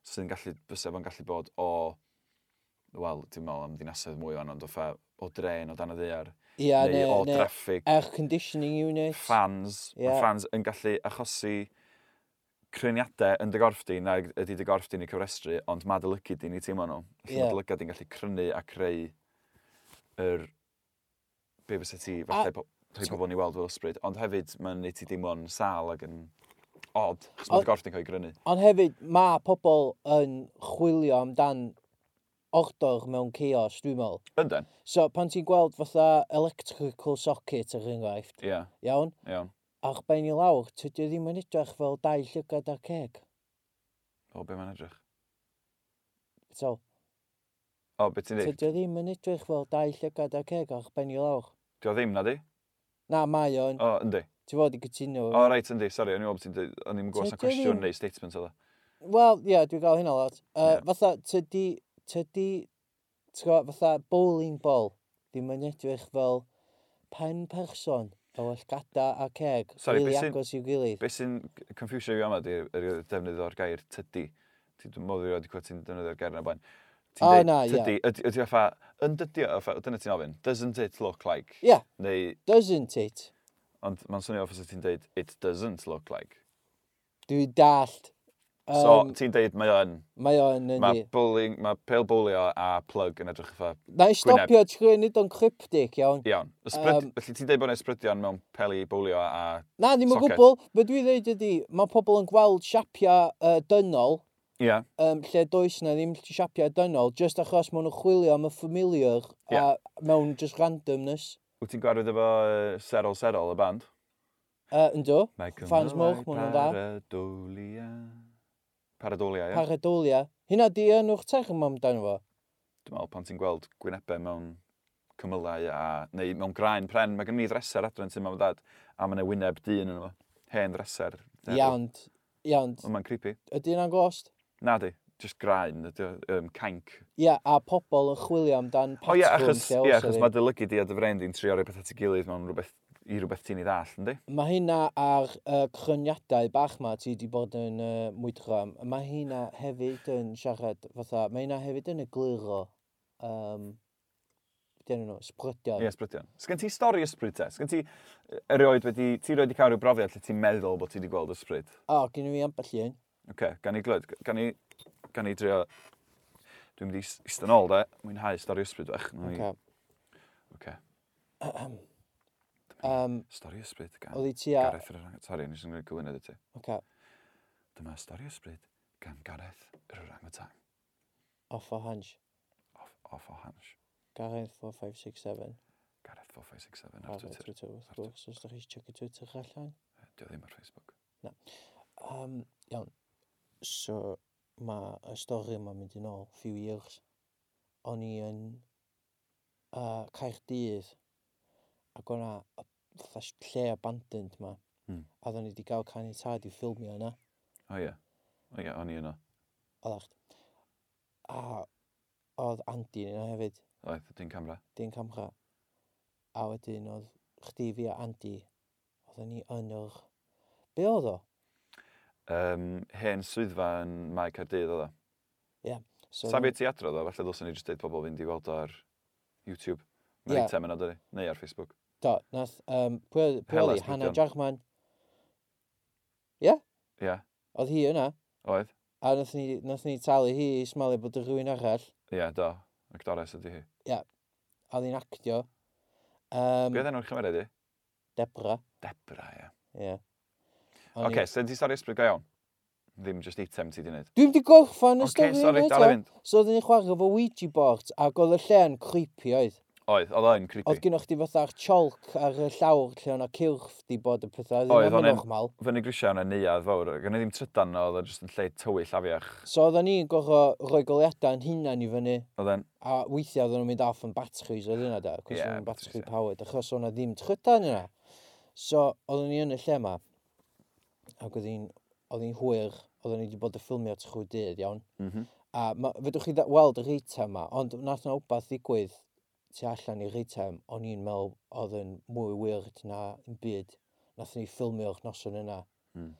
S1: sy'n gallu, bysau fo'n gallu bod o, wel, ti'n meddwl am dinasoedd mwy o'n ond o ffa, o dren, o dan y ddear,
S2: Ia,
S1: neu o
S2: neu, neu
S1: draffig,
S2: air conditioning unit.
S1: ffans, yeah.
S2: Ie.
S1: ffans yn gallu achosi cryniadau yn dy gorff di, na ydy dy gorff di'n ei cyfrestru, ond ma dylygu di'n ei teimlo nhw. Felly
S2: Ie.
S1: yeah. ma dylygu di'n gallu crynu a creu yr be fysa ti, falle po- rhai
S2: Ti'n-
S1: pobl ni weld fel ysbryd, ond hefyd mae'n neud ti deimlo'n sal ac yn odd, chos mae
S2: Ond-
S1: dy gorff di'n cael ei grynu.
S2: Ond hefyd, mae pobl yn chwilio amdan ordor mewn chaos, dwi'n meddwl.
S1: Ynden,
S2: So, pan ti'n gweld fatha electrical socket ar enghraifft,
S1: ie, yeah,
S2: iawn,
S1: iawn.
S2: a'ch ben i lawr, tydy o ddim yn edrych fel dau llygad ar ceg.
S1: O, be mae'n edrych?
S2: So,
S1: O, be ti'n dweud?
S2: tydy o ddim yn edrych fel dau llygad ar ceg a'ch ben i lawr.
S1: Dio ddim, na di?
S2: Na, mae o'n,
S1: O, yndi.
S2: ti'n fod i gytuno. efo
S1: O, reit, yndi, sori, o'n i'n meddwl bod ti'n dweud, o'n i'n gwybod sa'n
S2: Tydi o
S1: cwestiwn
S2: ddim-
S1: neu statement o dda.
S2: Wel, ie, yeah, dwi'n gael hynna lot. Uh,
S1: Ie.
S2: yeah. Fatha, tydi, tydi, ti'n gwybod, fatha bowling ball, ddim yn edrych fel pen person o wellgada a ceg,
S1: Sori,
S2: rili
S1: be' sy'n-
S2: agos i'w gilydd.
S1: Be sy'n c- confusio fi yma di'r yr defnydd o'r gair tydi. Ti'n dwi'n modd i wedi cwyd ti'n defnyddio'r gair yna blaen. Ti'n
S2: O,
S1: deud
S2: na, ie.
S1: Tydi, ydy- ydy fatha, yn dydi, o, fatha- dyna ti'n ofyn, doesn't it look like?
S2: Ie, yeah,
S1: Neu,
S2: doesn't it?
S1: ond mae'n swnio officer ti'n deud, it doesn't look like.
S2: Dwi'n dallt.
S1: So,
S2: Um,
S1: ti'n deud, mae o'n,
S2: mae o'n yn
S1: mae
S2: di.
S1: bowling, mae pale bowlio a plug yn edrych efo
S2: Na i stopio trwy nid o'n cryptic, iawn.
S1: Iawn. Ysbryd,
S2: Yym.
S1: felly ti'n deud bod yna ysbrydion mewn peli bowlio a...
S2: Na, ddim yn
S1: Socket.
S2: gwbl, be dwi'n dweud ydi, mae pobl yn gweld siapiau uh, dynol,
S1: Ia.
S2: um, lle does na ddim siapiau dynol, just achos maen nhw'n chwilio am y familiar
S1: Ie.
S2: a mewn just randomness.
S1: Wyt ti'n gwarfod efo yy, Serol Serol, y band?
S2: Uh, ynddo, fans mwch, maen nhw'n dda.
S1: Paradolia. Paradolia, ie.
S2: Paradolia. Hynna di yn o'ch term amdano fo.
S1: Dwi'n meddwl pan ti'n gweld gwynebau mewn cymylau a... neu mewn graen pren. Mae gen i ddreser adre'n sy'n mam a dad a mae yna wyneb dyn yn yma. Hen ddreser. Nerw.
S2: Iawn, iawn.
S1: Ond mae'n creepy.
S2: Ydy yna'n gost?
S1: Na di, just graen, ydy o, yym, cainc.
S2: Ia, a pobl yn chwilio amdan
S1: O
S2: patrwm.
S1: ie, achos,
S2: lle
S1: ie,
S2: oes
S1: achos
S2: iddi.
S1: mae dylygu di a dy fren di'n trio rhoi pethau at ei gilydd mewn rhywbeth, i rhywbeth ti'n ei ddall, yndi?
S2: Mae hynna ar uh, cryniadau bach ma ti wedi bod yn uh, mwydro am. Mae hynna hefyd yn siarad fatha, mae hynna hefyd yn egluro. Um, Dyn nhw, sbrydion.
S1: Ie, ysbrydion. Sgen ti stori ysbryd te? Sgen ti yy, erioed wedi... Ti erioed wedi cael rhyw brofiad lle ti'n meddwl bod ti wedi gweld ysbryd?
S2: O, gen i fi ambell un.
S1: Oce, okay, gan i glywed. Gan i... Gan i drio... Dwi'n mynd i is- iste yn ôl, de. Mwynhau stori ysbryd, fach. Oce. Okay.
S2: Okay.
S1: Okay.
S2: Um,
S1: Stori ysbryd, gan...
S2: Oedd i ti a...
S1: Gareth yr Orang... Sori, nes i'n gwneud gywynedd i ti.
S2: Okay.
S1: Dyma stori ysbryd gan Gareth yr Orang o Tang.
S2: Off o hansh.
S1: Off, off o Hans.
S2: Gareth 4567.
S1: Gareth 4567
S2: Ar
S1: ar
S2: Twitter,
S1: Twitter. Ar
S2: Twitter wrth gwrs, os ydych chi eisiau checio Twitter allan.
S1: Dio ddim ar Facebook.
S2: Um, iawn. So, mae y stori yma'n mynd yn ôl, few years. O'n i yn uh, Caerdydd, ac o'na y- fatha s- lle abandoned ma.
S1: Hmm.
S2: A oedden ni wedi cael caniatad i ffilmio yna.
S1: O ie. O ie, o'n i yno.
S2: Oedden A oedd Andy yna hefyd.
S1: Oedd, dwi'n camera.
S2: dyn camera. A wedyn oedd chdi fi a Andy, oedden ni yn yr... Be oedd o?
S1: um, hen swyddfa yn Mae Cardydd oedd o.
S2: So,
S1: Sa beth ti adrodd o, falle ddylsyn ni jyst deud pobl fynd i weld o ar YouTube. Mae'r
S2: Ie.
S1: item yna dydi, neu ar Facebook.
S2: Do, nath, um, pwy oedd- pwy
S1: Hela
S2: oedd hi? Hannah
S1: Sbwydion.
S2: Jarchman,
S1: Ie, yeah.
S2: oedd hi yna,
S1: oedd?
S2: a nath ni, nath ni talu hi i smalio bod y rhywun arall,
S1: Ie, yeah, do. Actores ydi hi.
S2: a oedd hi'n actio. Um,
S1: Beth enw'r chymered i?
S2: Debra,
S1: Debra, ie. Yeah.
S2: ie. Yeah.
S1: Oce, okay, so ti stori ysbryd go iawn? Ddim just item ti di wneud.
S2: Dwi'n di gorffan y
S1: Oce,
S2: stori
S1: okay, sori,
S2: yna
S1: dal i
S2: eto.
S1: fynd.
S2: So oedden ni'n chwarae fo Ouija board ac oedd y lle yn creepy oedd.
S1: Oedd, oedd o'n
S2: Oedd
S1: creepy.
S2: gynnwch chi fatha'r cholc ar y llawr lle o'na cylch di bod y pethau.
S1: Oedd,
S2: Oedd,
S1: o'n
S2: oedd
S1: en-
S2: normal.
S1: Fyny grisiau yna neuad fawr, gan i ddim trydan o, oedd o'n just yn lle tywyll afiach.
S2: So oedden ni'n gorfod rhoi goliadau yn hunan i fyny
S1: Oedd o'n,
S2: a weithiau oedden nhw'n mynd off yn batteries oedd yna da, cos
S1: Ie,
S2: yeah, battery
S1: batteries, ie.
S2: powered, achos o'na ddim trydan yna. So oedden ni yn y lle yma ac oedd hi'n oedd hi'n hwyr, oedden ni wedi bod y ffilmio trwy dydd iawn.
S1: mhm.
S2: A ma, fedwch chi dda- weld yr eitem yma, ond nath na wbeth ddigwydd tu allan i'r eitem, o'n i'n meddwl oedd yn mwy weird na yn byd. Nath ni ffilmio'r noson yna.
S1: Mm.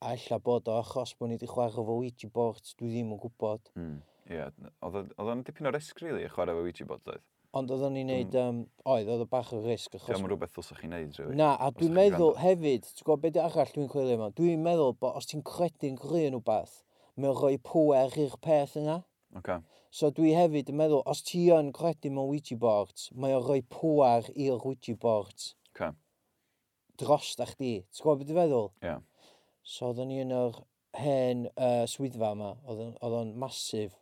S2: A ella bod o achos bod ni wedi chwarae fo Ouija board, dwi ddim yn gwybod.
S1: Mm. Ie, oedd o- oedd o'n dipyn o risg, really, chwarae fo Ouija bod, oedd.
S2: Ond oedden ni'n neud,
S1: Hmm.
S2: um, oedd, oedd o bach o risg. Achos...
S1: Diolch yn rhywbeth ddylsach chi'n neud, really.
S2: Na, a
S1: os
S2: dwi'n
S1: dach chi'n
S2: meddwl
S1: gwrando.
S2: hefyd, ti'n gwybod beth arall dwi'n coelio yma, dwi'n meddwl bod os ti'n credu'n gry yn wbeth, mae'n rhoi pwer i'r peth yna.
S1: Oce.
S2: So dwi hefyd yn meddwl, os ti yn credu mewn Ouija boards, mae o'n rhoi pwar i'r Ouija boards
S1: Oce.
S2: dros da chdi. T'w gwybod beth i feddwl?
S1: Ie.
S2: So oedden ni yn yr hen uh, swyddfa yma, oedd o'n- oedd o'n masif.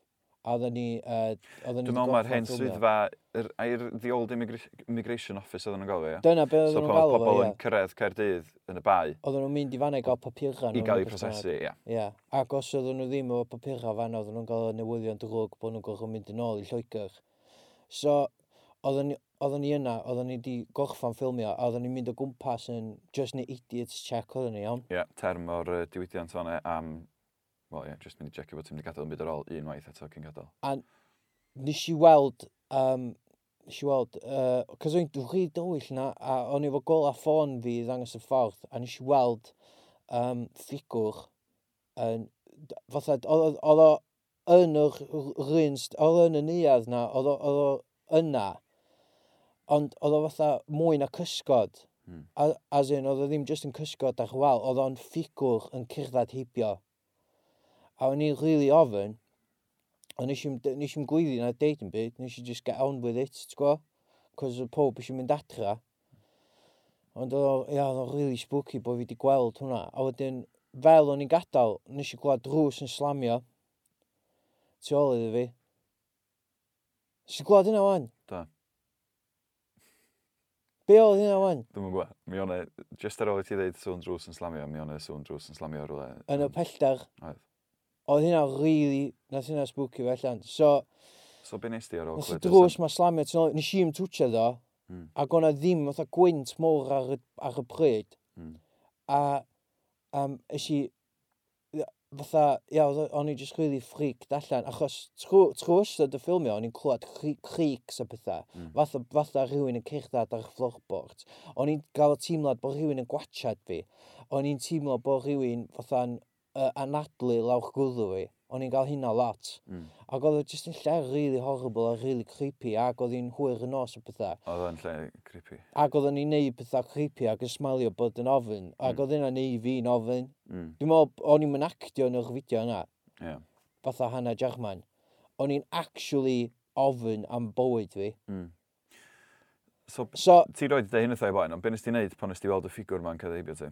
S2: A oedden ni... Uh, oedden ni
S1: Dwi'n
S2: wedi
S1: meddwl mae'r
S2: gorffen
S1: hen
S2: ffilmio.
S1: swyddfa, yr, ai'r The Old Immigra- Immigration Office oedden nhw'n gofio, ie?
S2: Dyna beth
S1: So
S2: oedden
S1: pan oedd
S2: nhw'n galw fo,
S1: pobl
S2: ie.
S1: yn cyrraedd Caerdydd yn y bai
S2: Oedden nhw'n mynd i fan i gael papurau.
S1: i gael eu prosesu, ie.
S2: Ie. Ac os oedden nhw ddim o papurau fan, oedden nhw'n gael y newyddion drwg bod nhw'n gorfod mynd yn ôl i Lloegr. So, oedden ni, oedden ni yna, oedden ni wedi gorffan ffilmio, a oedden ni'n mynd o gwmpas yn just neu idiots check oedden ni, iawn?
S1: Ie, term o'r uh, diwydiant fanna am... Wel, ie, just mynd i jecio bod ti'n mynd i gadael yn byd ar ôl unwaith eto cyn gadael.
S2: Nes i weld, um, nes i weld, cos uh, o'n i'n rhi dywyll na, a o'n i efo gol a ffôn fi i ddangos y ffordd, a nes i weld um, ffigwr yn, d- fatha, oedd oedd o yn yr rhynst, oedd o yn y neuad na, oedd o- oedd o yna, ond oedd o fatha mwy na cysgod,
S1: Hmm.
S2: A- as in, oedd o ddim just yn cysgod ar wal, oedd o'n ffigwr yn cyrdded heibio. A o'n i'n rili really ofyn, a nes i'm, d- nes i'm gwyddi na deud yn byd, nes i just get on with it, ti'n gwa? Cos y pob eisiau mynd adra. Ond oedd o'n ia, oedd o'n really spooky bod fi wedi gweld hwnna. A wedyn, fel o'n i'n gadael, nes i gwlad drws yn slamio. Tu ôl iddo fi. Nes i gwlad hynna wan?
S1: Do.
S2: Be oedd hynna wan?
S1: Dwi'n yn gwybod, mi o'na, just ar ôl i ti ddeud sŵn drws yn slamio, mi o'na sŵn drws yn slamio rhywle.
S2: Yn y
S1: Yym,
S2: pellter.
S1: Oedd.
S2: Oedd hynna really, nath hynna spooky fe allan. So,
S1: So, be nes ti ar ôl
S2: Nes i
S1: clywed? y
S2: drws mae slamio tu ôl, nes i im twtio ddo,
S1: Mm.
S2: ac o'na ddim fatha gwynt mowr ar, y- ar y pryd.
S1: Mm.
S2: A um, es i, ia, fatha, ia, oedd- o'n i just really freaked allan, achos trw, trw ystod y ffilmio, o'n i'n clywed cri- creaks a pethau,
S1: Mm.
S2: fatha, fatha rhywun yn cyrddad ar y floorboard. O'n i'n gael y teimlad bod rhywun yn gwachad fi. O'n i'n teimlo bod rhywun fatha'n uh, anadlu lawr gwddw fi. O'n i'n gael hynna lot.
S1: Mm.
S2: Ac oedd o just yn lle really horrible a really creepy ac oedd hi'n hwyr yn nos o pethau.
S1: Oedd o'n lle creepy.
S2: Ac oedd hi'n neud pethau creepy ac yn smalio bod yn ofyn. Ac
S1: Mm.
S2: oedd hynna'n neud fi'n ofyn.
S1: Mm.
S2: Dwi'n meddwl b- o'n i'n mynd actio yn yr fideo yna,
S1: Ie.
S2: fatha Hannah Jarman. O'n i'n actually ofyn am bywyd fi.
S1: Mm. So,
S2: So,
S1: ti roed dde hyn o thai boen, ond be nes ti wneud pan nes ti weld y ffigwr ma'n cyfeibio ti?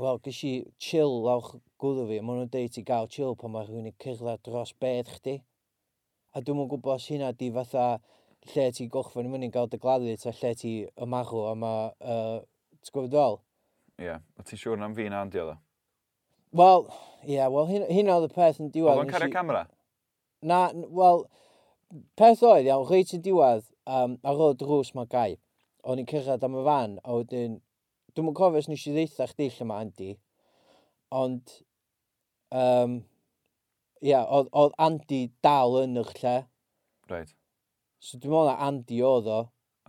S2: wel, ges i chill lawr gwddw fi. Mae nhw'n deud i gael chill pan mae rhywun yn cyrraedd dros bedd chdi. A dwi'n mwyn gwybod os hynna di fatha lle ti gochfan i fyny gael dy gladdu ta lle ti ymarw a mae... Uh, T'w gwybod fel?
S1: Ie. A ti'n siŵr na'n fi na Andy oedd o?
S2: Wel, ie, yeah, wel, hyn- hynna oedd y peth yn diwedd.
S1: Oedd o'n
S2: nes i-
S1: cario camera?
S2: Na, n- wel, peth oedd iawn, reit yn diwedd, um, ar ôl drws mae gai, o'n i'n cyrraedd am y fan, a wedyn, dwi'n yn cofio os nes i ddeitha chdi lle mae Andy, ond, um, ia, oedd oedd Andy dal yn yr lle,
S1: Reit.
S2: so dwi'n meddwl na Andy oedd o,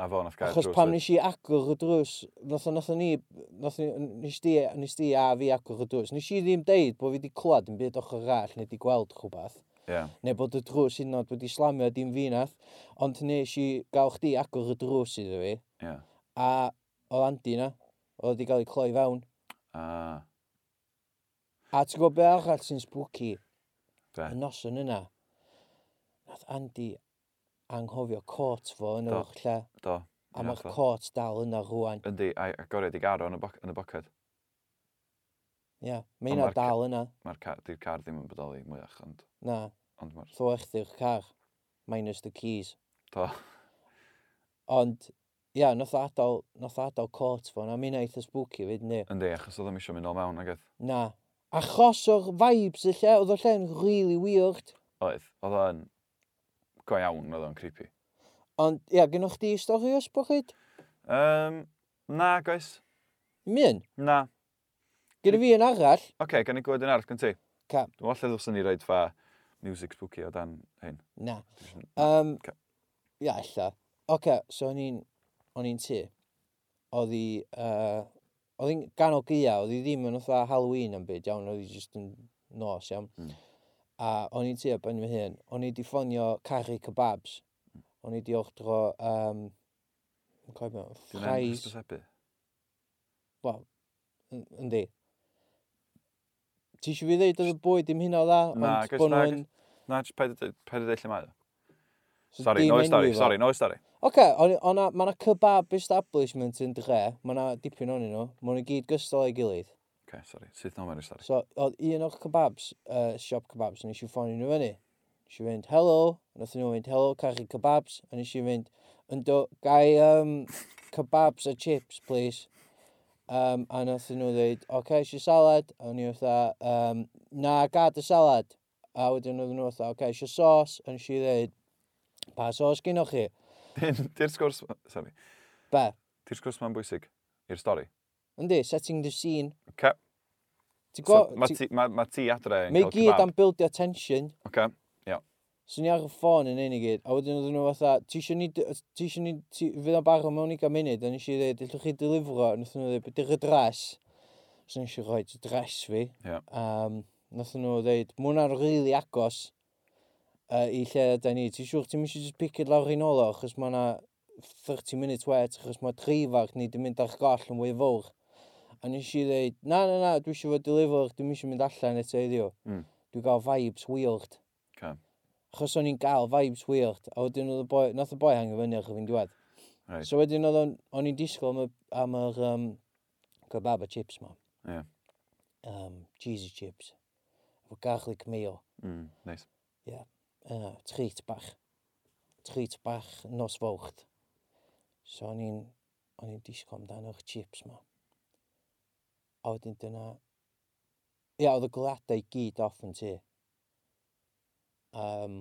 S1: A fo nath gael
S2: Achos
S1: drws.
S2: pam nes i agor y drws, nes o ni, nes ni, nes di, nes di a fi agor y drws, nes i ddim deud bod fi wedi clywed yn byd ochr all neu wedi gweld chwbeth,
S1: Ie.
S2: neu bod y drws hyd yn oed wedi slamio a dim fi nath, ond nes i gael chdi agor y drws iddo fi,
S1: Ie.
S2: a o Andy na, oedd wedi cael ei cloi fewn.
S1: A,
S2: A ti'n gwybod be arall sy'n spooky,
S1: be.
S2: y noson yna, nath Andy anghofio cot fo yn
S1: Do.
S2: yr lle,
S1: Do.
S2: a
S1: Ie,
S2: mae'r
S1: do.
S2: cot dal yna rwan.
S1: Yndi, a agoriad i garo yn y, boc yn y boced.
S2: Ie, yeah,
S1: Ond
S2: mae hynna
S1: ma'r ca-
S2: dal yna.
S1: Mae'r car, di'r car ddim yn bodoli mwyach, ond,
S2: Na,
S1: ond mae'r...
S2: Llyw eich car, minus the keys.
S1: Do.
S2: Ond, ia, yeah, nath o adael, nath o adael cort fo, na mi'n eitha spooky fyd ni.
S1: Yndi, achos oedd o'n eisiau mynd o mewn agedd.
S2: Na. Achos o'r vibes y lle, oedd y lle'n really weird.
S1: Oedd, oedd o'n go iawn, oedd o'n creepy.
S2: Ond, ia, yeah, gynnwch chi stori o sbwchyd?
S1: Um, na, goes.
S2: Mi'n,
S1: Na.
S2: gyda fi yn arall.
S1: Oce, okay, gan i gwybod yn arall gan ti.
S2: Ca,
S1: Dwi'n well ddwch sy'n ni roed fa music spooky o dan hyn.
S2: na. Um,
S1: Ca-
S2: ia, illa. Oce, so o'n i'n, o'n i'n tu. Oedd i, uh, oedd i'n ganol gia, oedd i ddim yn otha Halloween am byd, iawn, oedd i just yn nos, iawn.
S1: Mm.
S2: A o'n i'n tu ar ben fy hun, o'n i di ffonio carry kebabs. O'n i di ordro, um, yn coed mewn,
S1: Dwi'n mynd
S2: ffrais,
S1: hysbysebu.
S2: wel, yn- yndi. Ti eisiau fi ddeud oedd y bwyd dim hynna o dda?
S1: Na,
S2: ond
S1: gais-
S2: bo'
S1: na,
S2: nhw yn-
S1: Na, jyst paid â- paid y deill yma.
S2: so
S1: Sorry,
S2: dim
S1: no
S2: enwi
S1: stori,
S2: fo.
S1: sorry, no stori.
S2: Oce, okay, mae yna kebab establishment yn dre, mae yna dipyn o'n nhw, mae nhw'n gyd gystal ei gilydd.
S1: Oce, okay, sorry. Sydd no mewn i stori.
S2: So, oedd un o'r kebabs, uh, siop kebabs, yn eisiau ffonio nhw fyny. Nes i fynd, hello, nath nhw fynd, hello, cachu kebabs, a nes i fynd, ynddo, gai um, kebabs a chips, please. Um, a nath nhw dweud, oce, okay, eisiau salad, a o'n i fatha, um, na, gad y salad. A wedyn oedd nhw fatha, oce, okay, eisiau sos, a nes i dweud, pa sos gynnwch chi?
S1: Di'r sgwrs, sorry.
S2: Be,
S1: Di'r sgwrs ma'n bwysig i'r stori.
S2: yndi, setting the scene.
S1: Oce. So,
S2: Ti'n gwo-
S1: mae
S2: ti-
S1: ti, ma, ma ti adre yn
S2: Mae
S1: cael
S2: i gyd
S1: kebab.
S2: am buildio tension.
S1: Oce.
S2: So ni ar y ffôn yn un i gyd, a wedyn oedden nhw fatha, ti eisiau ni, ti eisiau ni, ti, fydd o'n barod mewn i gael munud, a nes i ddweud, allwch chi dilifro, a nath nhw ddweud, beth yw'r dres? So nes i roi dres fi.
S1: Ie.
S2: Um, nath nhw ddweud, mae hwnna'n rili agos uh, i lle da ni. Ti'n siŵr, ti'n eisiau just picid lawr un ola, achos mae yna 30 minutes wet, achos mae treifach ni di mynd ar goll yn fwy fawr. A nes i ddweud, na, na, na, dwi eisiau fod dilifro, dwi eisiau mynd allan eto iddiw.
S1: Mm.
S2: Dwi'n gael vibes weird
S1: Oce.
S2: achos o'n i'n gael vibes weird, a wedyn oedd y boi, nath y boi hangi fyny ach fi'n diwedd.
S1: Reit.
S2: So wedyn oedd o'n, o'n i'n disgwyl am, y, am yr um, kebab a chips ma.
S1: Ie.
S2: Um, cheesy chips. Efo garlic mayo.
S1: Mm, Neis.
S2: Uh, treat bach. Treat bach nos fawcht. So o'n i'n, o'n i'n disgwyl amdano yr chips ma. A wedyn dyna... Ia, oedd y gladau i gyd off yn tu. Um,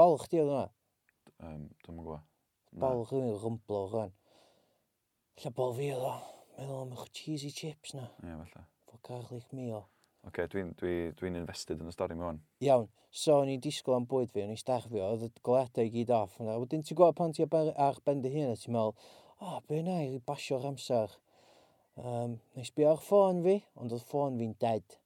S2: Bol chdi oedd hwnna?
S1: Um, Dwi'n mwyn gwybod.
S2: Bol rhywun o'r rymblo o rhan. Lle bol fi oedd o. Meddwl am eich cheesy chips na.
S1: Ie, falle.
S2: Fo garlic meal.
S1: Oce, dwi'n dwi, dwi invested yn y stori mewn.
S2: Iawn, so o'n i'n disgwyl am bwyd fi, o'n i'n starfio, oedd y goledau i gyd off. A wedyn ti'n gweld pan ti ar ben- ar ben dy hun a ti'n meddwl, o, oh, be na i basio'r amser. Um, nes bi ar ffôn fi, ond oedd ffôn fi'n dead.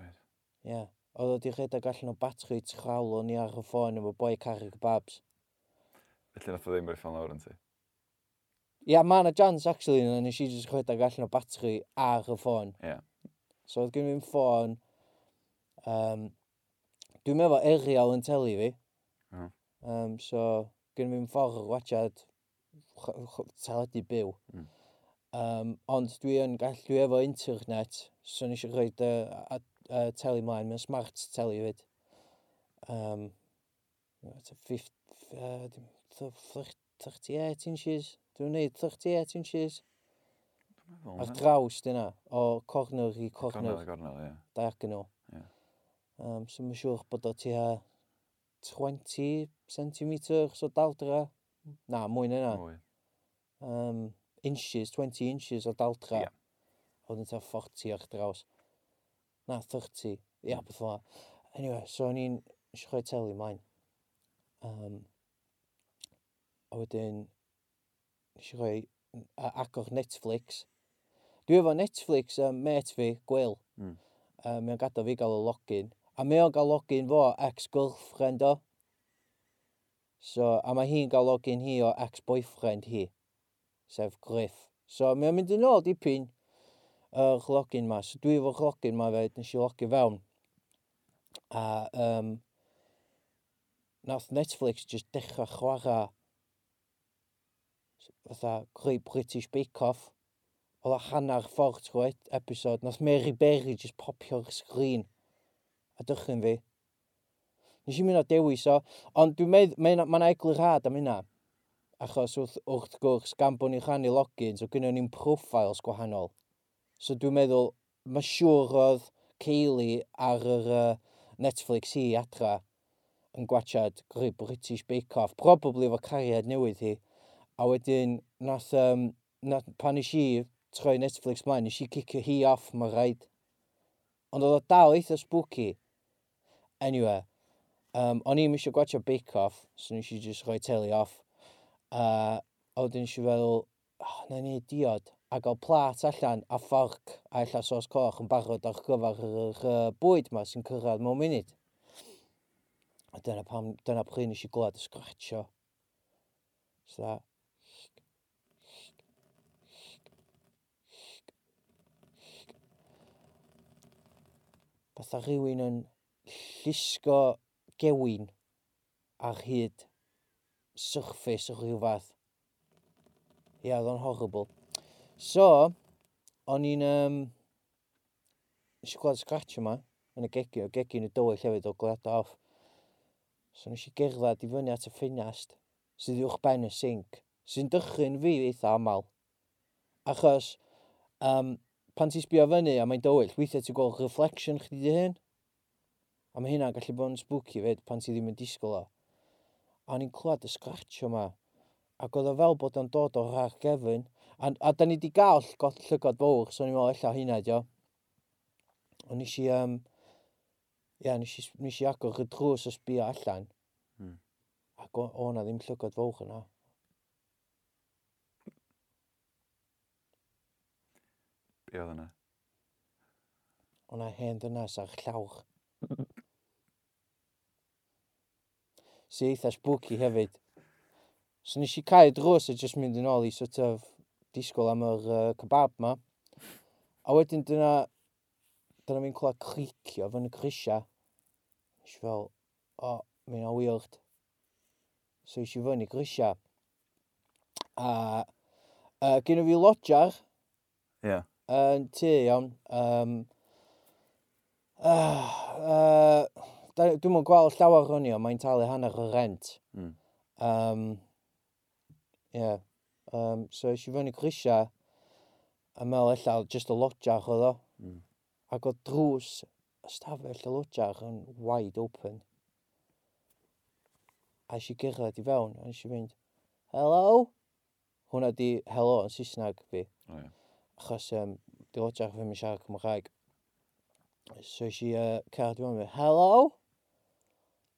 S1: Right.
S2: Ie, yeah. oedd o di rhedeg allan o batri trawl o'n i ar y ffôn efo boi caru kebabs.
S1: Felly nath o ddim rwy'n ffan lawr yn ti.
S2: Ia, yeah, mae yna jans, actually, na nes i jyst rhedeg allan o batri ar y ffôn.
S1: Ie.
S2: So oedd gen fi'n ffôn, um, dwi'n meddwl Ariel yn teli fi.
S1: O.
S2: Um, so gen fi'n ffordd o wachad teledu byw.
S1: Mm.
S2: Um, ond dwi yn gallu dwi efo internet, so nes i rhoi dy a, a, teli mlaen, mae'n smart teli fyd. Um, it's a fif- uh, dim- th- thir- 38 inches, dwi'n neud 38 inches ar draws dyna, o corner i corner.
S1: Gornel, gornel, ie.
S2: diagonal.
S1: Ie.
S2: Um, so mae'n siŵr bod o tua 20 cm o daldra. Na, mwy na yna.
S1: Mwy.
S2: Um, inches, 20 inches o daldra.
S1: Ie.
S2: Oedd yn tua 40 ar draws. Na, 30. Ia, beth o'n Anyway, so o'n i'n eisiau rhoi teli mlaen. Um, a wedyn, nes i roi a- agor Netflix. Dwi efo Netflix, um, met fi, Gwyl.
S1: Mm.
S2: Uh, mae o'n gadael fi gael y login. A mae o'n gael login fo ex-girlfriend o. So, a mae hi'n gael login hi o ex-boyfriend hi. Sef Griff. So, mae o'n mynd yn ôl dipyn yr login ma. So, dwi efo'r login ma fe, nes i login fewn. A, um, nath Netflix just dechrau chwarae fatha Great British Bake Off. Oedd o hanner ffordd trwy episod. Nath Mary Berry just popio'r sgrin. A dychyn fi. Nes i mynd o dewis o. Ond dwi'n meddwl, mae'n ma eglurad am hynna. Achos wrth, wrth gwrs, gan bod ni'n rhannu logins, o gynnu ni'n profiles gwahanol. So dwi'n meddwl, mae siŵr oedd Ceili ar yr uh, Netflix hi adra yn gwachad Great British Bake Off. Probably efo cariad newydd hi. A wedyn, nath, um, nath, pan nes i troi Netflix mlaen, nes i cicio hi off, mae rhaid. Ond oedd o dal eitha spooky. Anyway, um, o'n i'm eisiau gwachio Bake Off, so nes i just rhoi teli off. Uh, a wedyn nes i feddwl, oh, na ni diod, a gael plat allan a fforc a illa sos coch yn barod ar gyfer yr uh, bwyd ma sy'n cyrraedd mewn munud. A dyna, pam, dyna pryd nes i glwad y scratcho. So that, Bytha rhywun yn llusgo gewin ar hyd surface o rhyw fath. Ia, oedd o'n horrible. So, o'n i'n... Um, nes i gweld scratch yma, yn y gegi, o gegi yn y dywyll hefyd o gwlad off. So nes i gerdded i fyny at y ffinast, sydd uwch ben y sinc, sy'n dychryn fi eitha aml. Achos, um, pan ti'n sbio fyny a mae'n dywyll, weithiau ti'n gweld reflection chdi dy hyn. A mae hynna'n gallu bod yn spooky fyd pan ti ddim yn disgwyl o. A ni'n clywed y scratch yma. Ac oedd o fel bod o'n dod o'r ar gefn. A, a da ni wedi gael llygod, llygod fawr, so ni'n meddwl ella hynna, dio. Ond nes i, um, ia, nes i, nes i agor y drws o sbio allan.
S1: Hmm.
S2: Ac o- o' na ddim llygod fawr yna.
S1: Be oedd yna?
S2: O' na hen ddynas ar llawr. Sy eitha spooky hefyd. So nes i cael drws a just mynd yn ôl i sort of disgwyl am yr uh, kebab ma. A wedyn dyna, dyna mi'n clywed cricio fy'n y grisia. Nes i fel, o, mi'n o weird. So eisiau fy'n i grisia. A uh, gen i fi lodjar
S1: Ie.
S2: yn tu iawn. Um, uh, uh, Dwi'n mwyn gweld llawer o'n i o, mae'n talu hanner o rent.
S1: Mm.
S2: Um, yeah. Um, so eisiau fyny grisia a meddwl ella just y lodjar oedd o.
S1: Mm.
S2: Ac oedd drws y stafell y lodjar yn wide open. A eisiau gyrraedd i fewn, a eisiau mynd, hello? Hwna di hello yn Saesneg fi
S1: O, ie.
S2: achos um, dwi'n odrach ddim yn siarad Cymraeg. So eisiau uh, cerdd i mewn i fi, hello?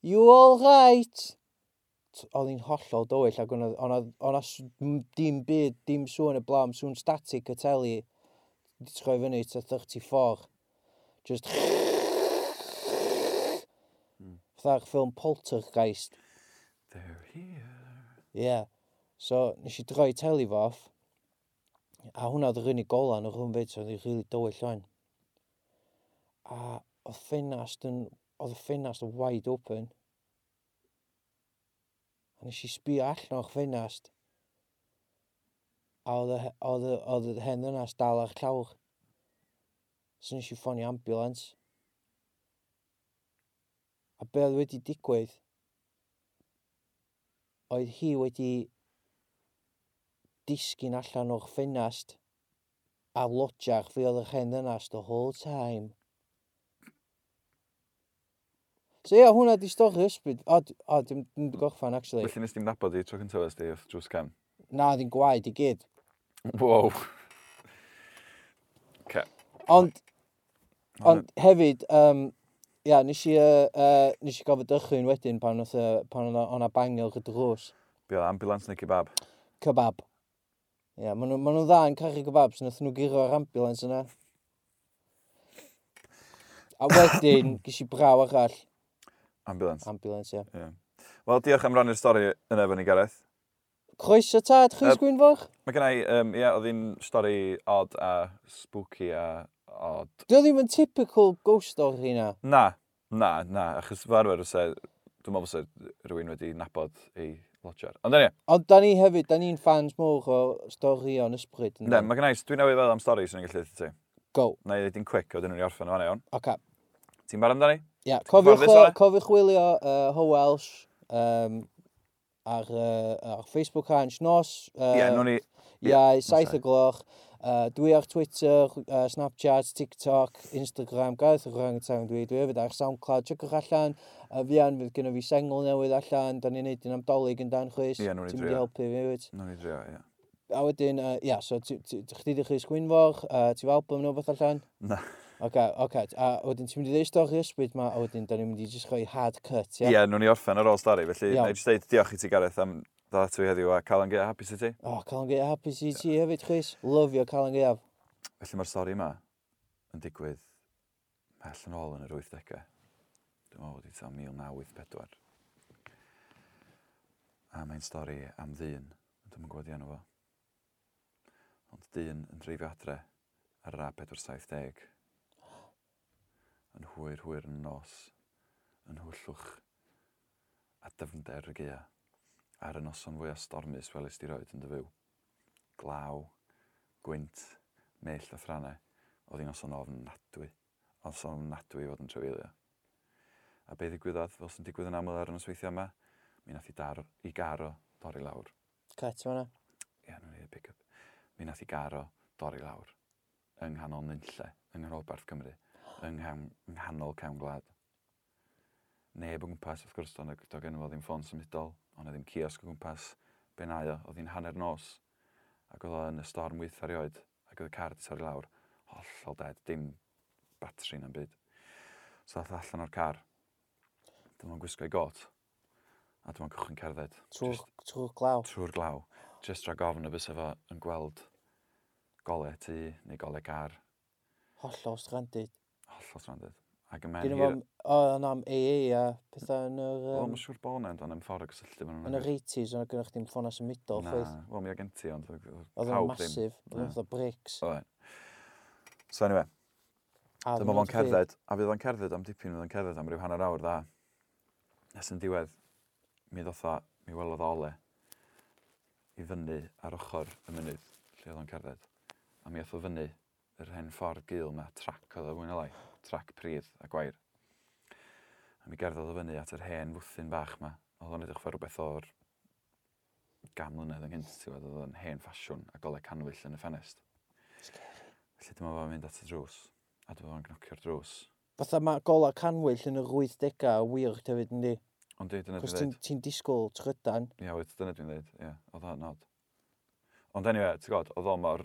S2: You all right? T- Oedd hi'n hollol dywyll ac o'na- o'na o'na s- m- dim byd, dim sŵn y blam, sŵn static y teli. Di troi fyny to 34. Just... Fytha'r ffilm Poltergeist.
S1: They're here.
S2: Ie. Yeah. So, nes i droi teli fo off. A hwnna oedd yr unig gola yn y rhwm fyd, so oedd i'n rili dywyll o'n. A oedd ffinast yn... Oedd y ffinast yn wide open. A nes i sbio allan o'r ffinast. A oedd y he- oedd y- oedd y hen ddynas dal ar llawr. So nes i ffonio ambulance. A be oedd wedi digwydd? oedd hi wedi disgyn allan o'r ffenast a lodjach fi oedd yr hen ddynas the whole time. So ie, hwnna di stori ysbryd. O, d- o dim, dim di gorffan, actually.
S1: Felly nes dim nabod i tro cyntaf ysdi wrth drws cam.
S2: Na, oedd hi'n gwaed i gyd.
S1: Wow. Ce.
S2: Ond, ond hefyd, um, ia, nes i, uh, uh, nes i gofod dychwyn wedyn pan oedd, uh, pan oedd o'na bangel gyda rws.
S1: Be oedd ambulance neu kebab?
S2: Kebab. Ia, yeah, maen nhw, maen nhw dda yn cachu kebabs, nath nhw giro ar ambulance yna. A wedyn, ges i braw arall,
S1: Ambulance.
S2: ambulance, ia.
S1: Wel, diolch am rannu'r stori yna efo ni, Gareth.
S2: Croeso tad,
S1: Yy,
S2: chwys gwynfoch?
S1: Mae gen i, um, ia, oedd hi'n stori odd a spooky a odd.
S2: Dio ddim yn typical ghost story na.
S1: Na, na, na, achos fel arfer fysa, dwi'n meddwl fysa rhywun wedi nabod ei lodger. Ond dyna,
S2: Ond da ni hefyd, da ni'n fans mowr o stori o'n ysbryd.
S1: ne, mae gen i, dwi'n newid feddwl am stori sy'n gallu ti.
S2: Go,
S1: Na i ddeudi'n quick, oedden nhw'n i orffen o'n iawn.
S2: oca.
S1: Ti'n barod amdani?
S2: Ia,
S1: cyfforddus
S2: cofiwch, o-
S1: o fe?
S2: cofiwch wylio uh, Ho Welsh um, ar, uh, ar Facebook Hans Nos.
S1: Ie, yeah, nhw'n i,
S2: Iau, saith
S1: sorry.
S2: y gloch. Uh, dwi ar Twitter, uh, Snapchat, TikTok, Instagram, Gareth yr Orangutan dwi. Dwi hefyd ar SoundCloud, chygwch allan. Uh, fi an, fydd gynnu fi sengl newydd allan. Da ni'n neud yn amdolig yn dan chwys.
S1: Ie, nawn ni
S2: Ti'n
S1: drio.
S2: mynd i helpu fi hefyd.
S1: nhw'n i drio, ia.
S2: A wedyn, uh, ia, so ti- ti- ti- chdi di chys gwynfoch, uh, ti'n fel album nhw beth allan?
S1: Na.
S2: Oce, oce. A wedyn ti'n mynd i ddeud stori ysbryd ma, a wedyn da ni'n mynd i jyst rhoi hard cut,
S1: Ie,
S2: ia?
S1: yeah, nhw'n i orffen ar ôl stori, felly,
S2: Iawn.
S1: na i just deud diolch i ti, Gareth, am dda tu heddiw a Calan Gaea Happy City.
S2: O, Calan Gaeaf, happy see ti hefyd, chys. Love your Calan Gaeaf.
S1: Felly mae'r stori yma yn digwydd mell yn ôl yn yr 80au. Dwi'n meddwl wedi ta 1984. A mae'n stori am ddyn, ond dwi'n gwybod i enw fo. Ond dyn yn dreifio adre ar yr A470. Yn hwyr hwyr yn y nos, yn hwllwch a dyfnder y gea. Ar y noson fwyaf stormus welys di roed yn dy fyw. Glaw, gwynt, mell a ffrannau, oedd hi'n noson ofnadwy. Oedd son ofnadwy i fod yn trefeilio. A be ddigwyddodd, fel sy'n digwydd yn aml ar y nosweithiau yma, mi nath i, dar, i garo dorri lawr.
S2: Cut fan'na.
S1: Ie, nhw'n ei pick-up. Mi nath i garo dorri lawr. Yng nghanol nynlle, yng nghanolbarth Cymru, yng ngham- yng nghanol cawn gwlad. Neb o gwmpas, wrth gwrs, doedd do gen i fo ddim ffôn symudol, ond oedd ddim kiosg o gwmpas, benau o, oedd hi'n hanner nos, ac oedd o yn y storm wyth ar oed, ac oedd y car wedi torri lawr, hollol dead, dim batri na'n byd. So ddath o allan o'r car, dyma o'n gwisgo ei got, a dyma o'n cychwyn cerdded.
S2: Trw'r
S1: jyst-
S2: trw'r glaw.
S1: trwy'r glaw, jyst rhag ofn y fysa fo yn gweld golau tu neu golau car,
S2: Hollol stranded.
S1: hollol strandydd. Ac yn mewn
S2: Dyn nhw
S1: hir...
S2: am, o, yna am AA a pethau yn yr,
S1: Wel,
S2: um,
S1: mae'n siŵr bod yna yn ffordd o gysylltu fan
S2: yn yr 80s, yna gynnwch chi'n ffona symudol,
S1: Na,
S2: chweith.
S1: wel, mi o gen ti, ond oedd
S2: Oedd yn
S1: pawb ddim.
S2: masif, oedd
S1: Na.
S2: yn fatha bricks.
S1: Oed. So anyway,
S2: A
S1: dyma
S2: oedd
S1: fo'n
S2: yn rhy-
S1: cerdded, a fydd o'n cerdded am dipyn, fydd o'n cerdded am ryw hanner awr dda. Nes yn diwedd, mi ddotha, mi welodd ole i fyny ar ochr y mynydd lle oedd o'n cerdded. A mi oedd o fyny yr hen ffordd gil na trac oedd o fwy na lai, trac pridd a gwair. A mi gerddodd o fyny at yr hen fwthyn bach ma, oedd o'n edrych fel rhywbeth o'r gam mlynedd ynghynt, ti'n gwbod, oedd o'n hen ffasiwn a golau canwyll yn y ffenest. Felly dyma fo'n mynd at y drws, a dyma fo'n gnocio'r drws.
S2: Fatha mae gola canwyll yn yr 80au a weird hefyd yn di.
S1: Ond dwi, dyna
S2: Cos
S1: dwi'n
S2: ti'n
S1: dweud.
S2: ti'n disgwyl trydan.
S1: Ia, wyt, dyna dwi'n dweud. Ia, oedd o'n nod. Ond anyway, ti'n gwybod, oedd o mor...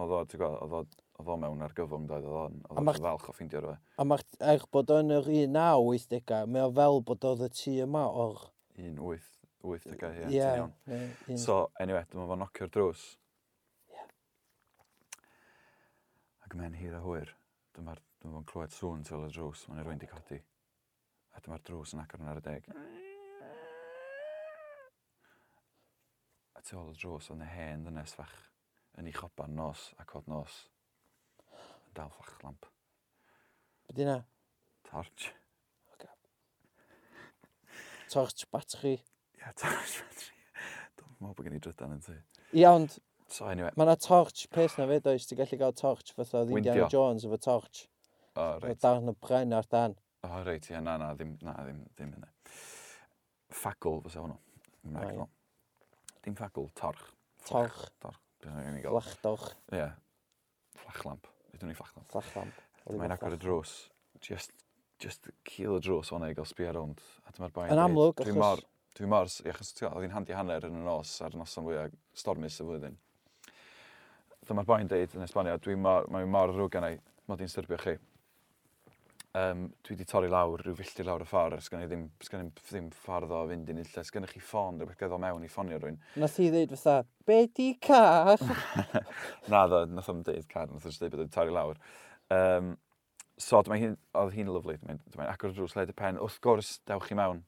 S1: Oedd o, ti'n gwybod, oedd o- oedd o mewn argyfwng doedd, oedd o'n...
S2: A
S1: Oedd
S2: ma'ch-
S1: o'n falch o ffeindio rhywbeth.
S2: A mae'r er bod o yn yr 1980au, mae o fel bod oedd y tŷ yma o'r...
S1: 1, 8, 8 degau, ia,
S2: Ie,
S1: ti'n iawn.
S2: ie, un-
S1: So, anyway, dyma fo'n nocio'r drws. Ac mae'n hir a hwyr. Dyma, dyma fo'n clywed sŵn tu ôl y drws. Mae'n rwy'n di codi. A dyma'r drws yn agor yn ar y deg. A tu ôl y drws yn y hen ddynes fach. Yn ei choban nos a cod nos. Yn dal flach lamp.
S2: Be di na?
S1: Torch.
S2: Torch batri.
S1: Ia, torch. Dwi'n meddwl bod gen i drydan yn ti.
S2: Ie, ond
S1: So, anyway.
S2: mae yna torch peth na fed oes, ti'n gallu gael torch fatha oedd
S1: Windio.
S2: Indiana Jones efo torch.
S1: O,
S2: O
S1: reit.
S2: darn y bren ar dan.
S1: O, oh, reit, ie, na, na, ddim, na, ddim, ddim yna. Ffagl, fysa hwnnw.
S2: O,
S1: Gymraeg,
S2: ie.
S1: no. Dim ffagl, torch.
S2: Torch,
S1: Torch, dyna ni'n ei gael.
S2: flachdoch,
S1: Ie. Flachlamp. Ydyn ni'n flachlamp.
S2: flachlamp. Oedd
S1: Mae'n
S2: efo
S1: agor y
S2: flach-
S1: drws. Just, just cil y drws o'na i gael sbio rownd. A dyma'r bain.
S2: Yn amlwg,
S1: achos... Dwi
S2: achos-
S1: mor, dwi mor, s- achos ti'n gwbod, oedd hi'n handi hanner yn y nos ar y noson fwyaf stormus y flwyddyn. Dyma'r bain deud yn esbonio, dwi mor, mae'n mor rwg gan ei, mod i'n styrbio chi. um, dwi wedi torri lawr, rhyw filltir lawr y ffordd, sgan i ddim, sgan i ddim ffordd o fynd i'n illa, sgan i chi ffôn, rhywbeth gyda mewn i ffonio rhywun.
S2: Nath hi ddeud fatha, be di car?
S1: Na ddo, nath o'n deud car, nath o'n deud bod o'n torri lawr. Um, so, dyma hi'n, oedd hi'n lyflu, dyma hi'n- dyma hi'n agor y drws led y pen, wrth gwrs, dewch chi mewn.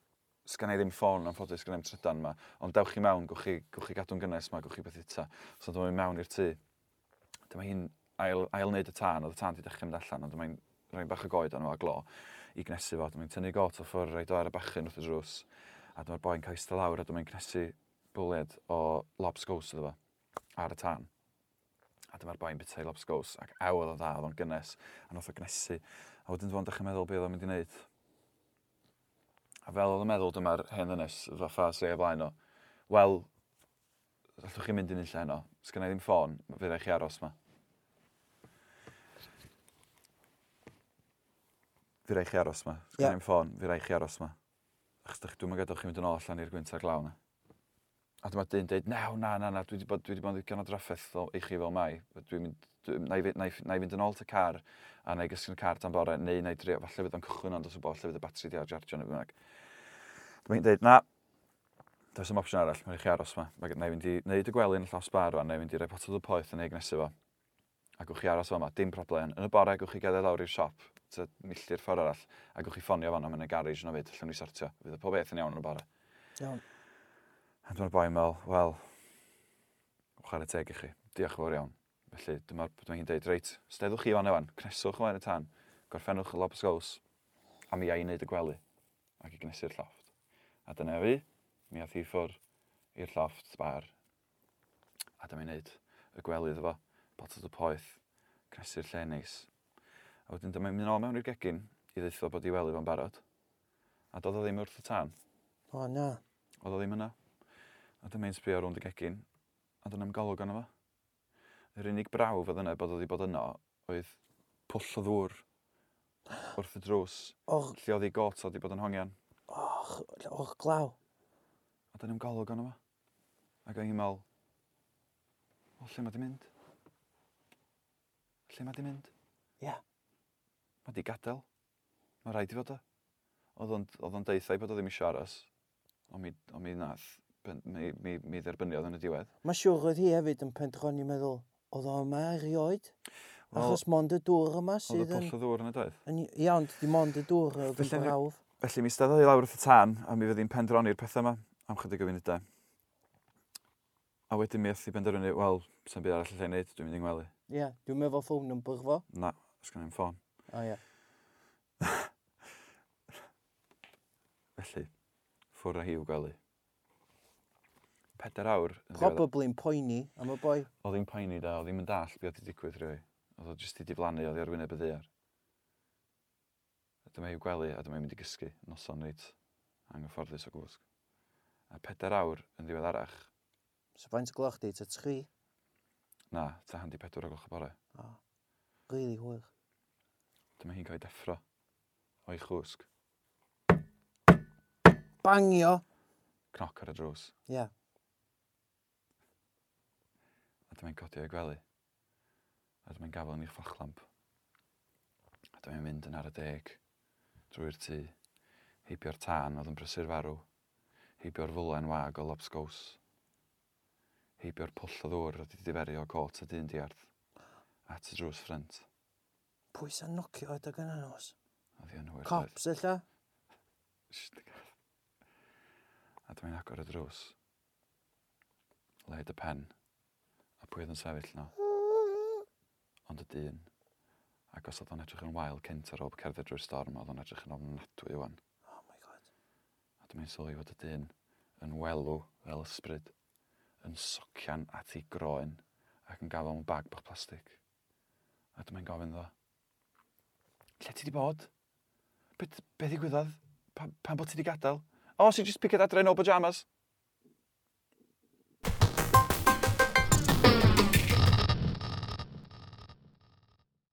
S1: Sgan i ddim ffôn, anffodus, sgan i'm trydan yma, ond dewch chi mewn, gwch chi, gwch chi gadw'n gynnes yma, gwch chi beth ita. So, dyma hi'n mewn i'r tŷ. Dyma hi'n ail, ail wneud y tân, oedd y tân wedi dechrau mynd allan, ond dyma hi'n rhoi bach o goed arno fo a glo i gnesu fo. Dyma hi'n tynnu got o ffwrdd, rhaid o ar y bachyn wrth y drws. A dyma'r boi'n cael eistedd lawr, a dyma hi'n cnesu bwled o lobsgows iddo fo, ar y tân a dyma'r boi'n bita i lobsgows ac awodd o dda oedd o'n gynnes a nath o gnesu a wedyn dwi'n dechrau meddwl beth oedd o'n mynd i wneud a fel oedd o'n meddwl dyma'r hen ddynes fatha sef ei flaen o wel allwch chi mynd i'n illa heno sgynna i ddim ffôn fe rai chi aros ma fe rai chi aros ma sgynna
S2: Ie.
S1: i ddim ffôn fe rai chi aros ma achos dych- dwi'm yn gadael chi mynd yn ôl allan i'r gwynt ar glaw na a dyma dyn deud, naw, na, na, na, dwi wedi bod, dwi wedi bod yn ddigon o drafferth o- i chi fel mai. Dwi'n mynd, dwi, na, i, fy- na, i, ff- na i fynd yn ôl ta car a na i gysgu'n car tan bore, neu na i drio, falle fydd o'n cychwyn ond os o bo, lle fydd y batri di ar jardio neu bynnag. Dwi'n mynd deud, na, does dim opsiwn arall, mae'n i chi aros ma. Ma' g- Na i fynd i wneud y gwely yn y llos bar rwan, na i fynd i roi potod o poeth yn ei gnesu fo. A gwch chi aros fama, dim problem. Yn y bore, gwch chi gadael lawr i'r siop, ta milltir ffordd arall, a gwch chi ffonio fan am yn y garage yna fyd, allwn ni sortio. Fydd y pob beth yn iawn yn y bore.
S2: Iawn.
S1: A dyma'r boi yn meddwl, wel, chwarae teg i chi, diolch yn fawr iawn. Felly, dyma, dyma hi'n deud, reit, steddwch chi fan ewan, cneswch ymlaen y tan, gorffennwch y lobs gows, a mi a i wneud y gwely, ac i gnesu'r llofft. A dyna fi, mi ath hi ffwr i'r llofft bar, a dyma i wneud y gwely iddo fo, potod y poeth, cnesu'r lle neis. A wedyn dyma i'n mynd nôl mewn i'r gegin, i ddeitho bod i wely fo'n barod, a doedd o ddim wrth y tan,
S2: O na.
S1: Oedd o ddim yna. A dyma i'n sbio rownd y gegin. A dyna'n golwg arno fo. Yr unig brawf oedd yna bod o wedi bod yno oedd pwll o ddŵr wrth y drws.
S2: Och,
S1: Lle oedd ei got o wedi bod yn hongian.
S2: och, och glaw.
S1: A dyna'n golwg arno fo. Ac o'n i'n meddwl, o lle mae di mynd? Lle mae di mynd?
S2: Ie.
S1: Mae di gadael. Mae rhaid i fod o. Oedd o'n- oedd o'n deithau bod o ddim eisiau aros. Ond mi, ond mi nath, ben- mi, mi, mi dderbyniodd yn y diwedd.
S2: Mae siwr oedd hi hefyd yn pendron i meddwl, oedd o yma erioed?
S1: Wel,
S2: Achos mond y dŵr yma
S1: Oedd y
S2: sydd yn...
S1: pwll o ddŵr yn y doedd.
S2: yn iawn, di mond y dŵr oedd yn
S1: Felly ni-
S2: brawf.
S1: Felly mi steddodd i lawr wrth y tân a mi fyddi'n pendroni'r pethau yma am chydig o funudau. A wedyn mi ath i benderfynu, wel, sa'n byd arall allai wneud, dwi'n mynd i'n gwely.
S2: Ie, dwi'n meddwl ffôn yn byrfo.
S1: Na, os gan i'n ffôn.
S2: O ie.
S1: Felly, ffwrdd â hi i'w gwely. Peder awr. yn ddiweddar.
S2: Probably'n poeni am y boi.
S1: Oedd hi'n poeni da, oedd hi'n mynd all beth wedi digwydd rhywun. Oedd o jyst i diflannu, oedd hi ar wyneb y ddear. A dyma i'w gwely, a dyma i'n mynd i gysgu, noson reit, anghyfforddus o gwsg. A peder awr yn ddiweddarach,
S2: So faint o gloch di, ta tri?
S1: na, ta handi pedwar o gloch y bore.
S2: O, rili hwyr.
S1: Dyma hi'n cael ei deffro o'i chwsg.
S2: Bangio!
S1: Cnoc ar y drws.
S2: Ie,
S1: A dyma hi'n codi o'i gwely. A dyma hi'n gafel yn i'ch ffachlamp. A dyma hi'n mynd yn ar y deg. Drwy'r tŷ. Heibio'r tân oedd yn brysur farw. Heibio'r fwlen wag o lobsgows. Heibio'r pwll o ddŵr oedd wedi diferu o cot a dyn diarth. At y drws ffrent.
S2: pwy sa'n nocio ydych yn anos?
S1: Oedd hi yn hwyr. doedd?
S2: Cops, illa?
S1: Shit, gath. A dwi'n agor y drws. Leid y pen. A pwy oedd yn sefyll no.
S2: Oh
S1: Ond y dyn. Ac os oedd o'n edrych yn wael cynt ar ôl cerdded drwy'r storm, oedd o'n edrych yn ofnadwy o'n.
S2: Oh my god.
S1: A dwi'n sylwi fod y dyn yn welw fel ysbryd, yn socian at ei groen ac yn gafel mewn bag bach plastig. A dwi'n gofyn ddo. Lle ti di bod? Beth, beth ddigwyddodd? Pa, pan bod ti di gadael? O, si just picket adre yn o pyjamas.